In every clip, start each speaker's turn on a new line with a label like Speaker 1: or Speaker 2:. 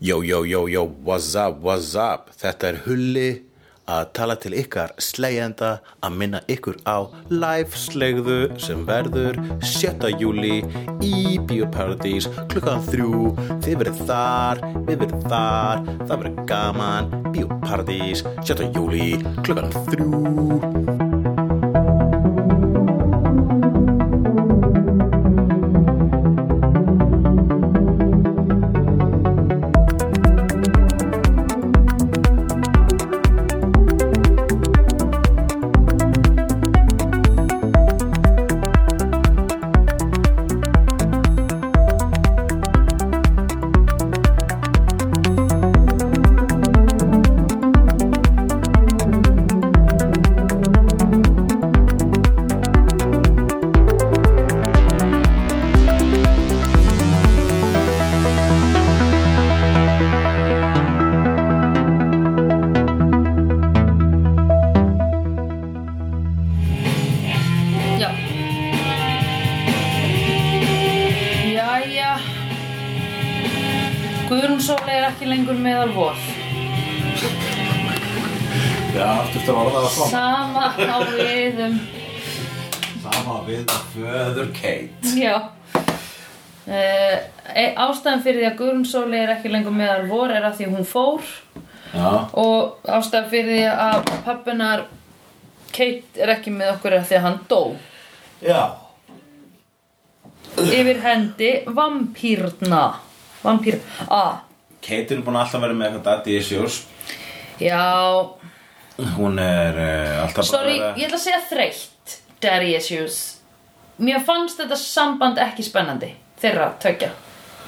Speaker 1: Jó, jó, jó, jó, what's up, what's up Þetta er Hulli að tala til ykkar slegjenda að minna ykkur á live-slegðu sem verður 7. júli í Bíóparadís klukkan þrjú þið verið þar, við verið þar það verið gaman, Bíóparadís 7. júli klukkan þrjú
Speaker 2: Já Jæja Guðrún Sóla er ekki lengur meðal vor
Speaker 3: Já, aftur til að orða það svona
Speaker 2: Sama á við um
Speaker 3: Sama við föður Kate
Speaker 2: Já uh, Ástæðan fyrir því að Guðrún Sóla er ekki lengur meðal vor er að því hún fór
Speaker 3: Já,
Speaker 2: og ástæðan fyrir því að pappinar Kate er ekki með okkur er að því að hann dó
Speaker 3: já
Speaker 2: Yfir hendi vampírna Vampír A
Speaker 3: Kate er búin að alltaf verið með eitthvað daddy issues
Speaker 2: Já,
Speaker 3: Hún er uh, alltaf
Speaker 2: Sorry,
Speaker 3: bara að
Speaker 2: ég
Speaker 3: vera
Speaker 2: ætla að segja þreytt Daddy issues Mér fannst þetta samband ekki spennandi Þeirra tökja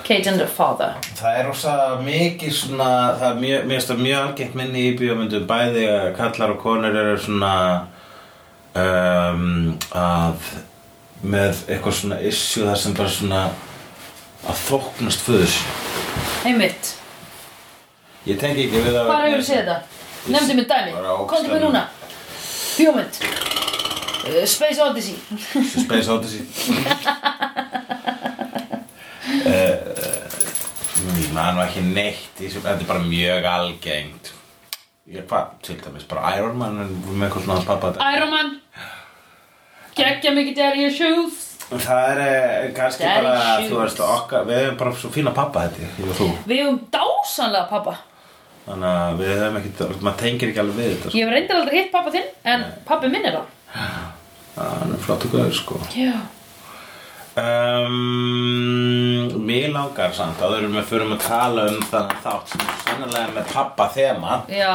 Speaker 2: Cage and the father
Speaker 3: Það er rosa mikið svona Það er mjög, mér finnst það mjög algengt minni í bíómyndum Bæði að kallar og konur eru svona um, Að Með eitthvað svona issue þar sem bara svona Að þóknast föður sín.
Speaker 2: Einmitt,
Speaker 3: Ég tengi ekki við það
Speaker 2: hvað hefur séð þetta? Nefndi mér dæmi,
Speaker 3: Bara ógeðslega
Speaker 2: komdu mér núna Bjómynd uh, Space Odyssey
Speaker 3: Space Odyssey uh, Eh, Ég man nú ekki neitt í þessu, Þetta er bara mjög algengt Ég hvað, til dæmis bara Iron Man er með eitthvað svona pappa
Speaker 2: Iron Man Gekkja mikið Daddy issues
Speaker 3: Það er eh, kannski
Speaker 2: Daddy
Speaker 3: bara,
Speaker 2: issues.
Speaker 3: þú veist, okkar Við hefum bara svo fína pappa þetta, ég, ég og þú
Speaker 2: Við höfum dásanlega pappa
Speaker 3: Þannig að við hefum ekki, maður tengir ekki alveg við þetta sko.
Speaker 2: Ég hef reyndar aldrei hitt pappa þinn En pappi minn er það
Speaker 3: Það er flott og gauð, sko
Speaker 2: Já
Speaker 3: Um, mér langar samt að við förum að tala um þannig þátt sem er sannlega með pappa þema
Speaker 2: Já,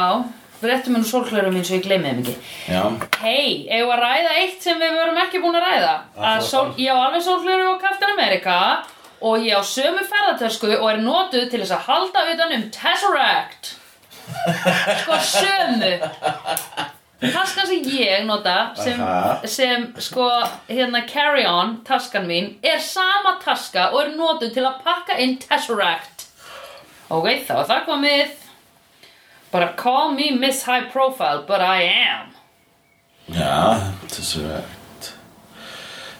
Speaker 2: við réttum hennu sólklörum mín svo ég gleymi þeim ekki
Speaker 3: Já,
Speaker 2: Hei, eigum við að ræða eitt sem við vorum ekki búin að ræða
Speaker 3: Það
Speaker 2: að
Speaker 3: fór
Speaker 2: sól,
Speaker 3: fram.
Speaker 2: Ég á alveg sólflöru og Captain America og ég á sömu ferðartösku og er notuð til þess að halda utan um Tesseract Sko sömu Taskan sem ég nota sem,
Speaker 3: Aha.
Speaker 2: sem sko hérna carry-on taskan mín er sama taska og er notuð til að pakka inn Tesseract Ok, þá er það komið Bara call me Miss High Profile, but I am
Speaker 3: já, þessu rætt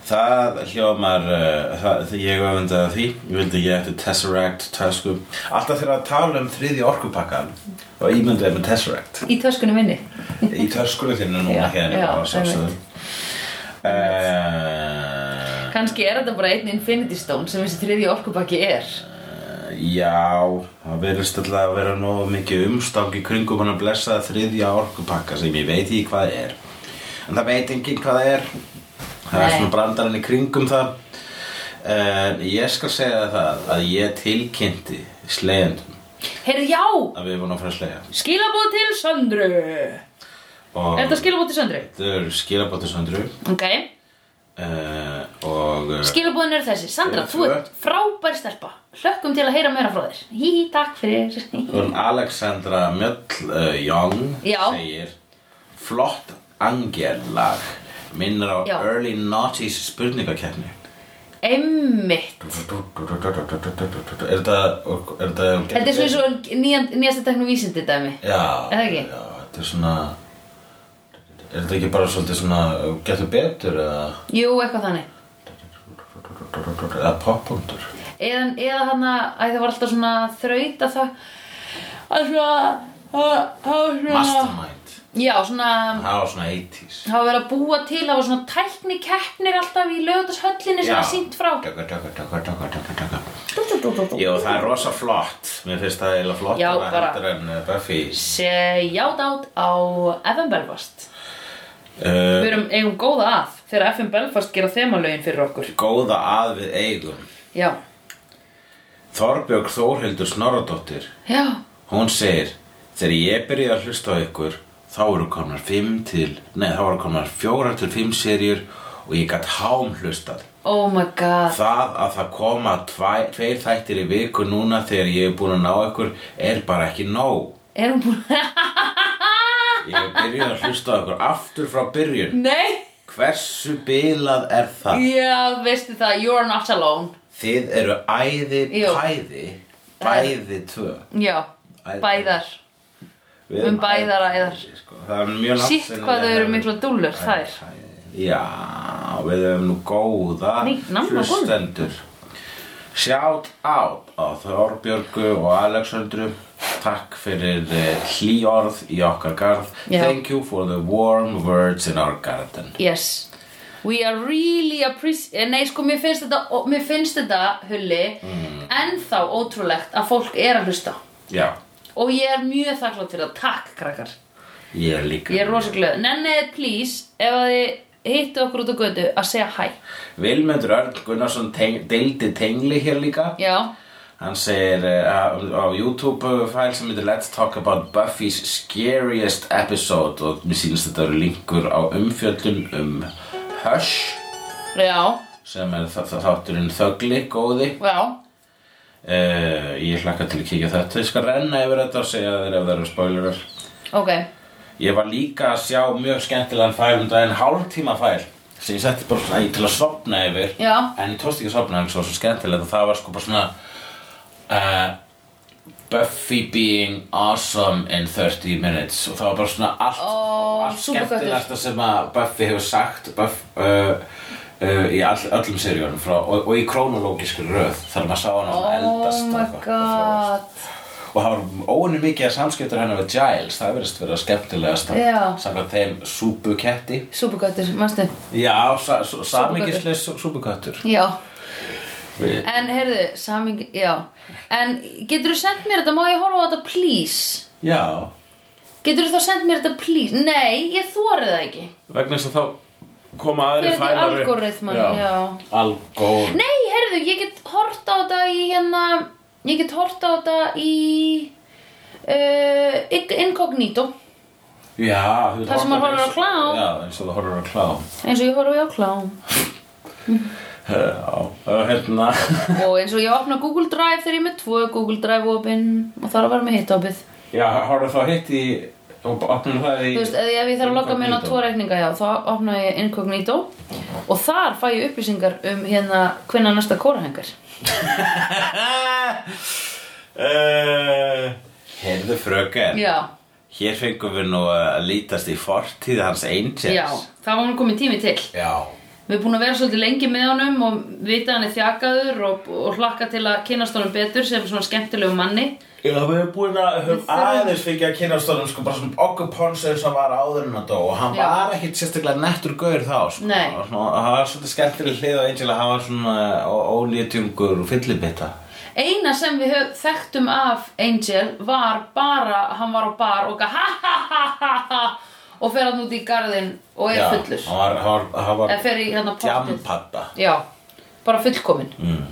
Speaker 3: Það hljómar uh, það, því ég öfundaði því ég vildi ég eftir Tesseract tösku. Alltaf þegar að tala um þriði orkupakkan og ímyndaði með Tesseract
Speaker 2: Í töskunni minni
Speaker 3: í töskunni þínu núna
Speaker 2: Já,
Speaker 3: hérna
Speaker 2: já,
Speaker 3: bara að sjálfsögðu. Eh,
Speaker 2: Kanski er þetta bara einn Infinity Stone sem þessi þriði orkubakki er
Speaker 3: Já, það verðist alltaf að vera nógu mikið umstang í kringum hann að blessa þriðja orkupakka sem ég veit í hvað er. En það veit enginn hvað það er. Það er
Speaker 2: Nei.
Speaker 3: svona brandarinn í kringum það. En ég skal segja það að ég tilkynnti slegjendum
Speaker 2: Heyrðu já,
Speaker 3: að við vorum að fara að slegja.
Speaker 2: skilabóð til Söndru Er
Speaker 3: Og
Speaker 2: þetta skilabóð til Söndru?
Speaker 3: Þetta eru skilabóttisöndru
Speaker 2: Ok,
Speaker 3: uh, og eh,
Speaker 2: skilabóðin er þessi Sandra,
Speaker 3: Eru
Speaker 2: þú
Speaker 3: tvö.
Speaker 2: ert frábær stelpa Hlökkum til að heyra meira frá þér Hí, takk fyrir
Speaker 3: Hún Alexandra Mjöll uh, Young
Speaker 2: Já.
Speaker 3: segir Flott angellag minnir á
Speaker 2: Já.
Speaker 3: early noughties spurningakeppni
Speaker 2: Einmitt
Speaker 3: Er þetta er þetta
Speaker 2: Þetta er svona svo nýjan- nýjasta teknum vísindi dæmi
Speaker 3: Já,
Speaker 2: Er það ekki?
Speaker 3: já, þetta er svona Er þetta ekki bara svolítið svona getur betur eða
Speaker 2: Jú, eitthvað þannig
Speaker 3: eða poppundur
Speaker 2: eða, eða hann að það var alltaf svona þraut að það að svona að, að svona
Speaker 3: Mastermind
Speaker 2: já svona
Speaker 3: Það var svona 80s
Speaker 2: það var verið að búa til það var svona tæknikeppnir alltaf í lögutarsöllinni sem
Speaker 3: Já.
Speaker 2: er sínt frá
Speaker 3: Tökka, tökka, tökka, tökka, tökka, tökka Jú, það er rosa flott Mér finnst það eiginlega flott
Speaker 2: Já, bara-
Speaker 3: Þetta en uh, Buffy
Speaker 2: shout out á FM Belfast
Speaker 3: uh,
Speaker 2: við erum eigum góða að þegar FM Belfast gera þemalögin fyrir okkur
Speaker 3: Góða að við eigum
Speaker 2: já,
Speaker 3: Þorbjörg Þórhildur Snorradóttir
Speaker 2: já,
Speaker 3: Hún segir Þegar ég byrjaði að hlusta á ykkur Þá voru komnar 5 til Nei, þá voru komnar 4 til 5 serjur Og ég gat hám hlustað
Speaker 2: oh my god
Speaker 3: Það að það koma tvæ- tveir þættir í viku núna þegar ég er búin að ná ykkur er bara ekki nóg.
Speaker 2: erum búin
Speaker 3: Ég er byrjuð að hlusta á ykkur aftur frá byrjun.
Speaker 2: nei
Speaker 3: Hversu bilað er það?
Speaker 2: Já, veistu það, you're not alone
Speaker 3: Þið eru æði
Speaker 2: Jú.
Speaker 3: bæði, bæði tvö.
Speaker 2: Já,
Speaker 3: Æ-
Speaker 2: bæðar
Speaker 3: Við
Speaker 2: Um
Speaker 3: erum
Speaker 2: bæðar
Speaker 3: æði
Speaker 2: æðar.
Speaker 3: bæði, sko. Það er mjög langt
Speaker 2: Sitt
Speaker 3: síðan
Speaker 2: hvað
Speaker 3: ég
Speaker 2: þau eru
Speaker 3: hef-
Speaker 2: miklu dúllur, það er
Speaker 3: Já, við höfum nú góða
Speaker 2: Nei, namma góð.
Speaker 3: hlustendur. Shout out á Þorbjörgu og Alexandru. Takk fyrir eh, hlý orð í okkar garð.
Speaker 2: Já.
Speaker 3: Thank you for the warm words in our garden.
Speaker 2: Yes We are really appreciate Nei, sko, mér finnst þetta, mér finnst þetta Hulli,
Speaker 3: Mm.
Speaker 2: ennþá ótrúlegt að fólk er að hlusta
Speaker 3: Já,
Speaker 2: Og ég er mjög þakklátt fyrir það, takk krakkar
Speaker 3: ég er líka.
Speaker 2: Ég er rosa glöð Nennið, please, ef að þið hittu okkur út á götu að segja hæ
Speaker 3: Vilmundur Örn Gunnarsson teng deildi tengli hér líka.
Speaker 2: Já,
Speaker 3: Hann segir eh, á á YouTube-fæl sem heitir Let's Talk About Buffy's Scariest Episode og mér sýnist þetta eru linkur á umfjöllun um Hush
Speaker 2: já,
Speaker 3: sem er þa- þa- þátturinn þögli, góði
Speaker 2: já
Speaker 3: uh, Ég hlakka til að kíkja þetta Ég skal renna yfir þetta og segja þér ef það eru spoilerar
Speaker 2: Ok,
Speaker 3: Ég var líka að sjá mjög skemmtilegan fæl um daginn hálftíma fæl sem ég setti bara svona í til að sopna yfir
Speaker 2: Já.
Speaker 3: en ég tókst ekki að sopna en svo, svo skemmtilegt og það var sko bara svona uh, Buffy being awesome in 30 minutes og það var bara svona allt,
Speaker 2: Ó,
Speaker 3: allt
Speaker 2: superköttur.
Speaker 3: skemmtilegasta sem að Buffy hefur sagt Buff, uh, uh, í all, öllum seríunum frá, og, og í krónológísku röð þar maður sá hann
Speaker 2: oh
Speaker 3: eldast og
Speaker 2: my
Speaker 3: eitthvað, og þróast
Speaker 2: god
Speaker 3: og það var óinu mikið að samskiptur hennar við Giles það verðist vera skemmtilegast
Speaker 2: Já.
Speaker 3: samkvæmt þeim súpuketti
Speaker 2: Súpugötur, manstu?
Speaker 3: já, sa- sa- samingisleis súpukattur
Speaker 2: Já
Speaker 3: Við-
Speaker 2: En heyrðu, saming, já En getur þú sendt mér þetta, má ég horfa á þetta please?
Speaker 3: já,
Speaker 2: Getur þú þá sendt mér þetta please? Nei, ég þorið það ekki
Speaker 3: vegna þess að þá koma aðri
Speaker 2: Fyrir
Speaker 3: fælar upp.
Speaker 2: algoritman, já.
Speaker 3: algoritman
Speaker 2: Nei, heyrðu, ég get hort á þetta í hérna Ég get hort á þetta í uh, Incognito
Speaker 3: já, þú
Speaker 2: Þar sem maður
Speaker 3: horfir
Speaker 2: horfir á klám.
Speaker 3: já, eins og þú horfir á klám
Speaker 2: Eins og ég horfi á klám
Speaker 3: já, og hérna
Speaker 2: Og eins og ég opna Google Drive þegar ég er með tvö Google Drive opin Og þarf að vera með hitt opið
Speaker 3: já, horfir þá hitt í og opnum það í
Speaker 2: Þú veist, ef ég, ef ég þarf að logga mig inn á
Speaker 3: Incognito.
Speaker 2: tvo reikninga hjá, þá opna ég Incognito og þar fæ ég upplýsingar um hérna hvenna næsta kórahengar.
Speaker 3: Eh, Heyrðu fröken
Speaker 2: Já,
Speaker 3: Hér fengum við nú að lítast í fortíð hans Angels
Speaker 2: já, það var hann komið tími til.
Speaker 3: Já.
Speaker 2: Við erum búin að vera svolítið lengi með honum og vita að hann er þjakaður og, og hlakka til að kynast honum betur sem svona skemmtilegu manni.
Speaker 3: Já, við höfum búin að höfum
Speaker 2: þurfum-
Speaker 3: aðeins fengið að kynast honum sko bara svona okkur ponsið sem var áður en að dó og hann
Speaker 2: Já.
Speaker 3: var ekkit sérstaklega nettur gaur þá sko.
Speaker 2: Nei.
Speaker 3: Og svona, hann var svolítið skemmtileg hlið á Angel að hann var svona ólítjungur og fyllibitta
Speaker 2: Eina sem við höf, þekktum af Angel var bara, hann var á bar og gaf ha ha ha ha ha og fer hann út í garðin og er fullur.
Speaker 3: hann var, hann var,
Speaker 2: Eða
Speaker 3: hann var
Speaker 2: fer í hérna pottið.
Speaker 3: jampata
Speaker 2: Já, bara fullkomin mm.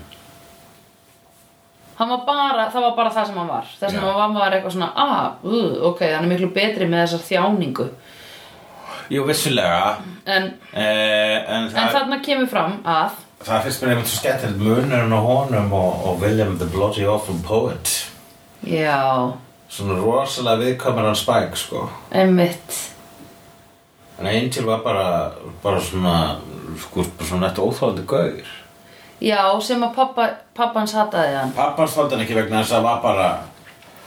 Speaker 2: Hann var bara, það var bara það sem hann var Það sem
Speaker 3: Já.
Speaker 2: hann var maður eitthvað svona Ah, uh, ok, hann er miklu betri með þessa þjáningu
Speaker 3: Jú, vissulega
Speaker 2: En,
Speaker 3: eh, En það
Speaker 2: en þarna kemur fram að
Speaker 3: Það finnst mér einhvern svo skemmtilegt munurinn á honum og, og William the Bloody Awful Poet
Speaker 2: Já,
Speaker 3: Svona rosalega viðkomur hann Spike sko
Speaker 2: einmitt
Speaker 3: En Angel var bara, bara svona, sko, bara svona nættu óþólandi gaur
Speaker 2: Já, sem að pappa, pappans hataði hann
Speaker 3: Pappans þóldi hann ekki vegna þess að það var bara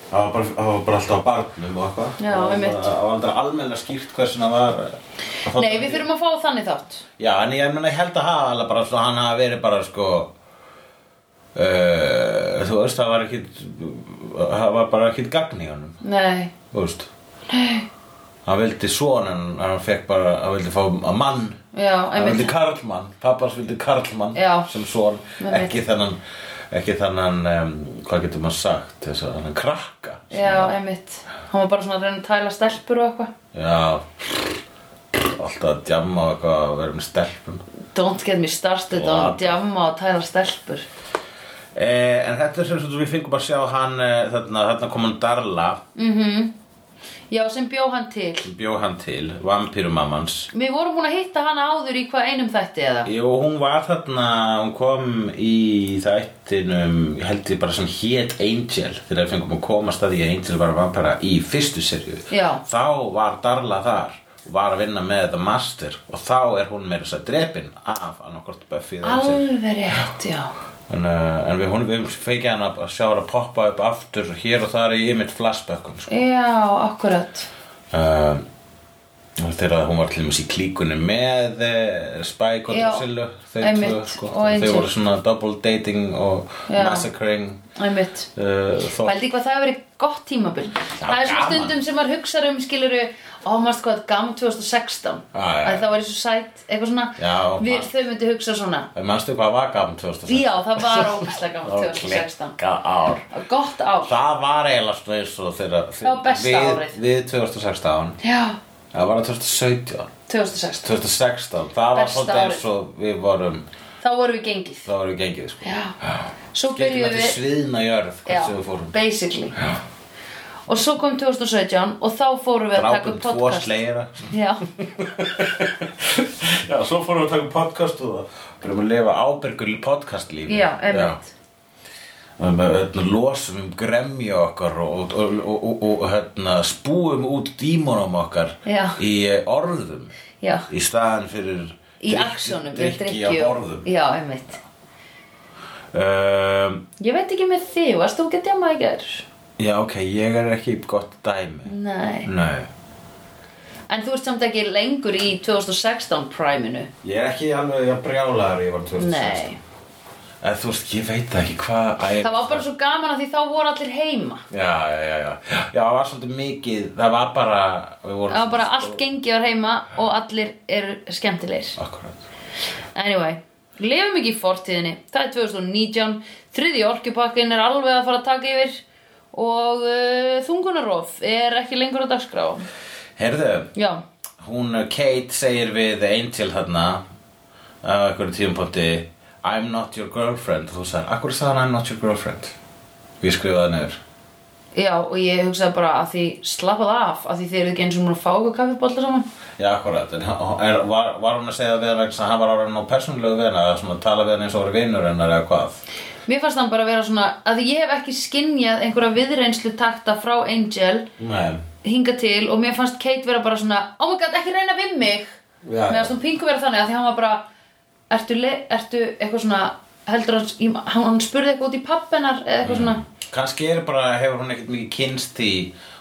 Speaker 3: Það var bara, það var bara alltaf á barnum og eitthvað
Speaker 2: Já,
Speaker 3: Það var
Speaker 2: einmitt.
Speaker 3: bara- Það var aldrei almennilega skýrt hversin það var eh, það
Speaker 2: Nei, við þurfum að fá þannig þátt
Speaker 3: Já, en ég, meina, ég held að hafa alveg bara svo hann hafi verið bara sko uh, þú veist, það var ekki það var bara ekki gagn í honum
Speaker 2: Nei,
Speaker 3: þú veist hann vildi son en hann fekk bara hann vildi fá að mann
Speaker 2: já,
Speaker 3: hann vildi
Speaker 2: einmitt
Speaker 3: karlmann, pappans vildi karlmann
Speaker 2: Já.
Speaker 3: sem son,
Speaker 2: Einmitt.
Speaker 3: ekki þennan ekki þennan, um, hvað getur maður sagt þess að hann krakka
Speaker 2: Já, einmitt Hann var bara svona að reyna að tæla stelpur og eitthvað
Speaker 3: já alltaf að djamma og eitthvað að vera með stelpum
Speaker 2: Don't get me started
Speaker 3: Wow.
Speaker 2: on djamma og tæla stelpur
Speaker 3: Eh, en þetta er sem sagt við fengum að sjá hann eh, þarna, þarna kom hann Darla
Speaker 2: Já, sem bjó hann til
Speaker 3: bjó hann til, vampírumammans
Speaker 2: Við vorum búin að hitta hann áður í hvað einum þætti eða
Speaker 3: Jú, hún var þarna, hún kom í þættinum, ég held ég bara sem hét Angel þegar við fengum að komast að því að Angel var vampara í fyrstu serju.
Speaker 2: Já.
Speaker 3: Þá var Darla þar og var að vinna með The Master og þá er hún meira þess að drepin af annarkort Buffy eða Angel.
Speaker 2: Alveg rétt, já
Speaker 3: En, uh, en við, hún, við feikja hann að sjá hann að poppa upp aftur hér og þar í ymitt flashbackum. Sko.
Speaker 2: Já, akkurat
Speaker 3: Uh, þegar hún var til dæmis í klíkunni með eh, Spike og
Speaker 2: Já,
Speaker 3: Drusillu þau
Speaker 2: einmitt,
Speaker 3: tvö, sko,
Speaker 2: og
Speaker 3: þau
Speaker 2: Angel.
Speaker 3: voru svona double dating og
Speaker 2: Já.
Speaker 3: massacring
Speaker 2: Einmitt
Speaker 3: uh, þó,
Speaker 2: Pældi hvað það hefur verið gott tímabil Það er svona
Speaker 3: gaman.
Speaker 2: stundum sem maður hugsar um skiluru Ó, maður hvað, gam 2016
Speaker 3: Já, já, já.
Speaker 2: Að það var svo sætt, eitthvað svona
Speaker 3: Já,
Speaker 2: Við,
Speaker 3: maður-
Speaker 2: Þau myndi hugsa svona
Speaker 3: Eh, manstu hvað var gaman 2016
Speaker 2: Já, það var ógæslega gaman 2016
Speaker 3: ár
Speaker 2: Gott ár
Speaker 3: það var eiginlega svona eins og þegar
Speaker 2: Það var besta
Speaker 3: við,
Speaker 2: árið.
Speaker 3: við 2016
Speaker 2: Já,
Speaker 3: það var 2017
Speaker 2: 2016
Speaker 3: 2016, það var
Speaker 2: Besta
Speaker 3: svolítið
Speaker 2: árið.
Speaker 3: eins og við vorum,
Speaker 2: Þá vorum við gengið
Speaker 3: þá vorum við gengið sko.
Speaker 2: Já, svo
Speaker 3: getum
Speaker 2: byrjuðum
Speaker 3: þetta
Speaker 2: við
Speaker 3: sviðna jörð
Speaker 2: Já,
Speaker 3: hversu við fórum
Speaker 2: basically Og svo kom 2017 og þá fórum við að taka
Speaker 3: drápum
Speaker 2: upp
Speaker 3: tvo
Speaker 2: podcast
Speaker 3: sleira
Speaker 2: Já,
Speaker 3: Já, svo fórum við að taka um podcast og það Byrjum að lifa ábyrgur podcastlífi
Speaker 2: já, einmitt
Speaker 3: Og með, hérna, losum um gremju okkar og, og, og, og, og hérna, spúum út dímonum okkar
Speaker 2: Já.
Speaker 3: í eh, orðum
Speaker 2: Já.
Speaker 3: í staðan fyrir
Speaker 2: Í aksjónum, við
Speaker 3: drykki
Speaker 2: drikkju
Speaker 3: af orðum
Speaker 2: Já, einmitt
Speaker 3: um,
Speaker 2: Ég veit ekki með þig, varst þú ekki að djama í gær?
Speaker 3: Já, ok, ég er ekki gott dæmi
Speaker 2: Nei
Speaker 3: Nei
Speaker 2: En þú ert samt ekki lengur í 2016 præminu
Speaker 3: Ég er ekki alveg að brjálaður ég var 2016
Speaker 2: Nei
Speaker 3: En þú veist, ég veit ekki hvað Æ,
Speaker 2: Það var bara svo gaman að því þá voru allir heima
Speaker 3: Já, já, já, já, já, það var svolítið mikið, það var bara, við vorum
Speaker 2: Það var bara allt gengið var heima og allir eru skemmtilegir
Speaker 3: Akkurat
Speaker 2: Anyway, lifum ekki í fortíðinni Það er 2019 Þriði orkjupakkin er alveg að fara að taka yfir Og uh, þungunarof er ekki lengur að dagskrá
Speaker 3: Heyrðu,
Speaker 2: Já,
Speaker 3: hún uh, Kate segir við Angel þarna á einhverjum tíumponti I'm not your girlfriend og þú sagði, akkur sagði hann I'm not your girlfriend og ég skrifaði það niður
Speaker 2: já og ég hugsaði bara að því slappað af að því þið eruð ekki eins og múin að fá okkur kaffibólla saman
Speaker 3: Já, akkurat, en hann- er, var, var hún að segja það við hann vegna þess að hann var orðin á persónulegu við hann eða svona tala við hann eins og voru vinur hennar eða hvað
Speaker 2: Mér fannst hann bara vera svona að ég hef ekki skinjað einhverja viðreynslu takta frá Angel
Speaker 3: Nei,
Speaker 2: hinga til og mér fannst Kate vera bara svona oh my god, ekki reyna við mig
Speaker 3: Já,
Speaker 2: mér fannst
Speaker 3: já.
Speaker 2: hún pingu vera þannig að því hann var bara ertu, le, ertu eitthvað svona heldur hans, hann, hann spurði eitthvað út í pappenar eða eitthvað svona,
Speaker 3: Mm. kannski er bara, hefur hún ekkert mikið kynst í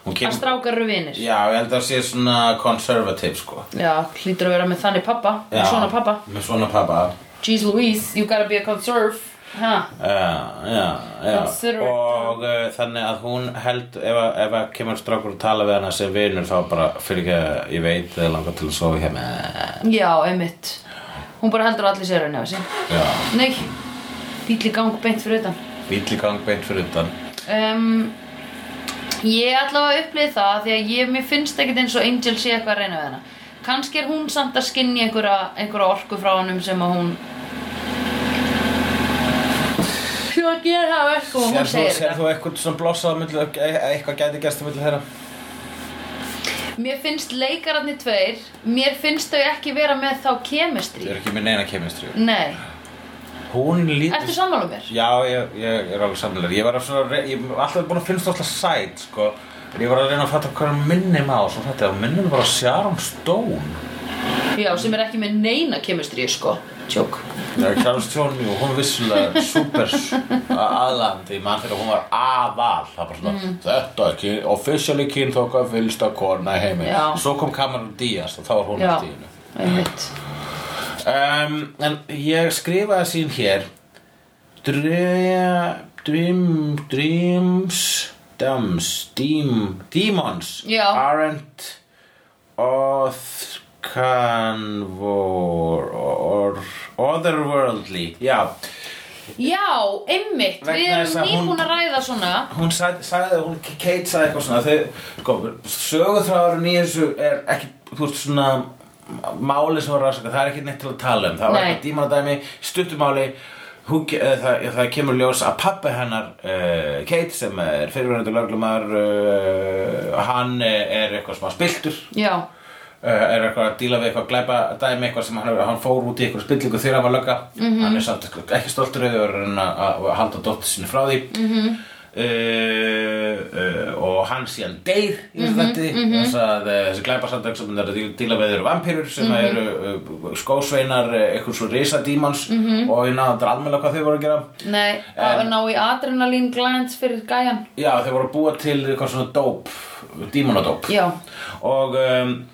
Speaker 3: hún
Speaker 2: að
Speaker 3: kynst
Speaker 2: strákar eru vinir
Speaker 3: Já, ég held að það sé svona conservative sko
Speaker 2: já, hlýtur að vera með þannig pappa
Speaker 3: Já,
Speaker 2: með svona pappa,
Speaker 3: Með svona pappa
Speaker 2: jeez Louise you gotta be a conserve ha.
Speaker 3: Já, já, já
Speaker 2: Considerate.
Speaker 3: Og uh, þannig að hún held ef, að- ef að kemur strákur að tala við hana sem vinur þá bara fyrir ekki að ég veit eða langar til að sofa hjá með
Speaker 2: já, einmitt hún bara heldur að allir sér henni af þessi
Speaker 3: Já,
Speaker 2: nei, bíl í gang beint fyrir utan
Speaker 3: bíl í gang beint fyrir utan
Speaker 2: um, Ég allavega upplýði það því að ég, mér finnst ekkert eins og Angel sé eitthvað að reyna við hana Kannski er hún samt að skinni einhverja, einhverja orku frá honum sem að hún Svo að gera það verkum og hún
Speaker 3: Sér þú,
Speaker 2: segir
Speaker 3: sér
Speaker 2: þetta
Speaker 3: þú eitthvað svona blossað á milli, e- e- eitthvað gæti gerst á milli þeirra?
Speaker 2: Mér finnst leikararnir tveir, mér finnst þau ekki vera með þá
Speaker 3: Ég
Speaker 2: kemestri
Speaker 3: er ekki með neina kemistri
Speaker 2: Nei,
Speaker 3: Hún
Speaker 2: ertu
Speaker 3: lítið
Speaker 2: sammála mér?
Speaker 3: Já, ég, ég er alveg samlega Ég var að svona, re- ég hef alltaf búin að finnst alltaf sæt sko En ég var að reyna að fatta hvað hún minnum á Svo þetta, hún minnum bara Sharon Stone
Speaker 2: Já, sem er ekki með neina kemestri, sko Tjók
Speaker 3: Já, Charles Tjóni og hún vissulega super aðlandi, mann þegar hún var aðal það var svona,
Speaker 2: Mm.
Speaker 3: þetta er ekki officially kynþóka fylgsta kona í heimi
Speaker 2: Já.
Speaker 3: svo kom Cameron Diaz og þá var hún
Speaker 2: Já,
Speaker 3: allt í hennu
Speaker 2: einmitt
Speaker 3: um, en ég skrifaði sín hér Dre... Dream... Dreams... Dums... Deem... Demons
Speaker 2: Já.
Speaker 3: Aren't... Oth... Canvor... Or... Otherworldly Já
Speaker 2: Já, einmitt, við
Speaker 3: Vegna þess
Speaker 2: erum
Speaker 3: að hún-
Speaker 2: nýbúin að ræða svona
Speaker 3: hún sagði, sagði hún, Kate sagði eitthvað svona þau, sko, sögutráðurinn í þessu er ekki, þú veist, svona máli sem var rannsaka, það er ekki neitt til að tala um það var
Speaker 2: Nei.
Speaker 3: ekki dímanadæmi, stuttumáli hún, ge- eh, það, eh, það kemur ljós að pappi hennar uh, Kate sem er fyrirverandi löglumar uh, hann eh, er eitthvað smá spiltur
Speaker 2: Já,
Speaker 3: Uh, er eitthvað að díla við eitthvað glæpa dæmi eitthvað sem hann, hefur- hann fór út í eitthvað spillingu þegar hann var lögga -hmm. hann er samt eitthvað ekki stoltur yfir en að, að halda dóttur sinni frá því mm -hmm. og hann síðan deyr í þessu þætti þess að eh, þessi glæpasamtök sem hann er að díla- díla við eru vampýrur sem eru uh, skósveinar eh, eitthvað svo risadímans mm -hmm. og ég náði að dralmela hvað þau voru að gera
Speaker 2: nei, að ná í adrenalín glands fyrir gæjan
Speaker 3: Já, þeir voru að búa til eitthvað svona dóp, dímonadóp
Speaker 2: Já.
Speaker 3: Og, um,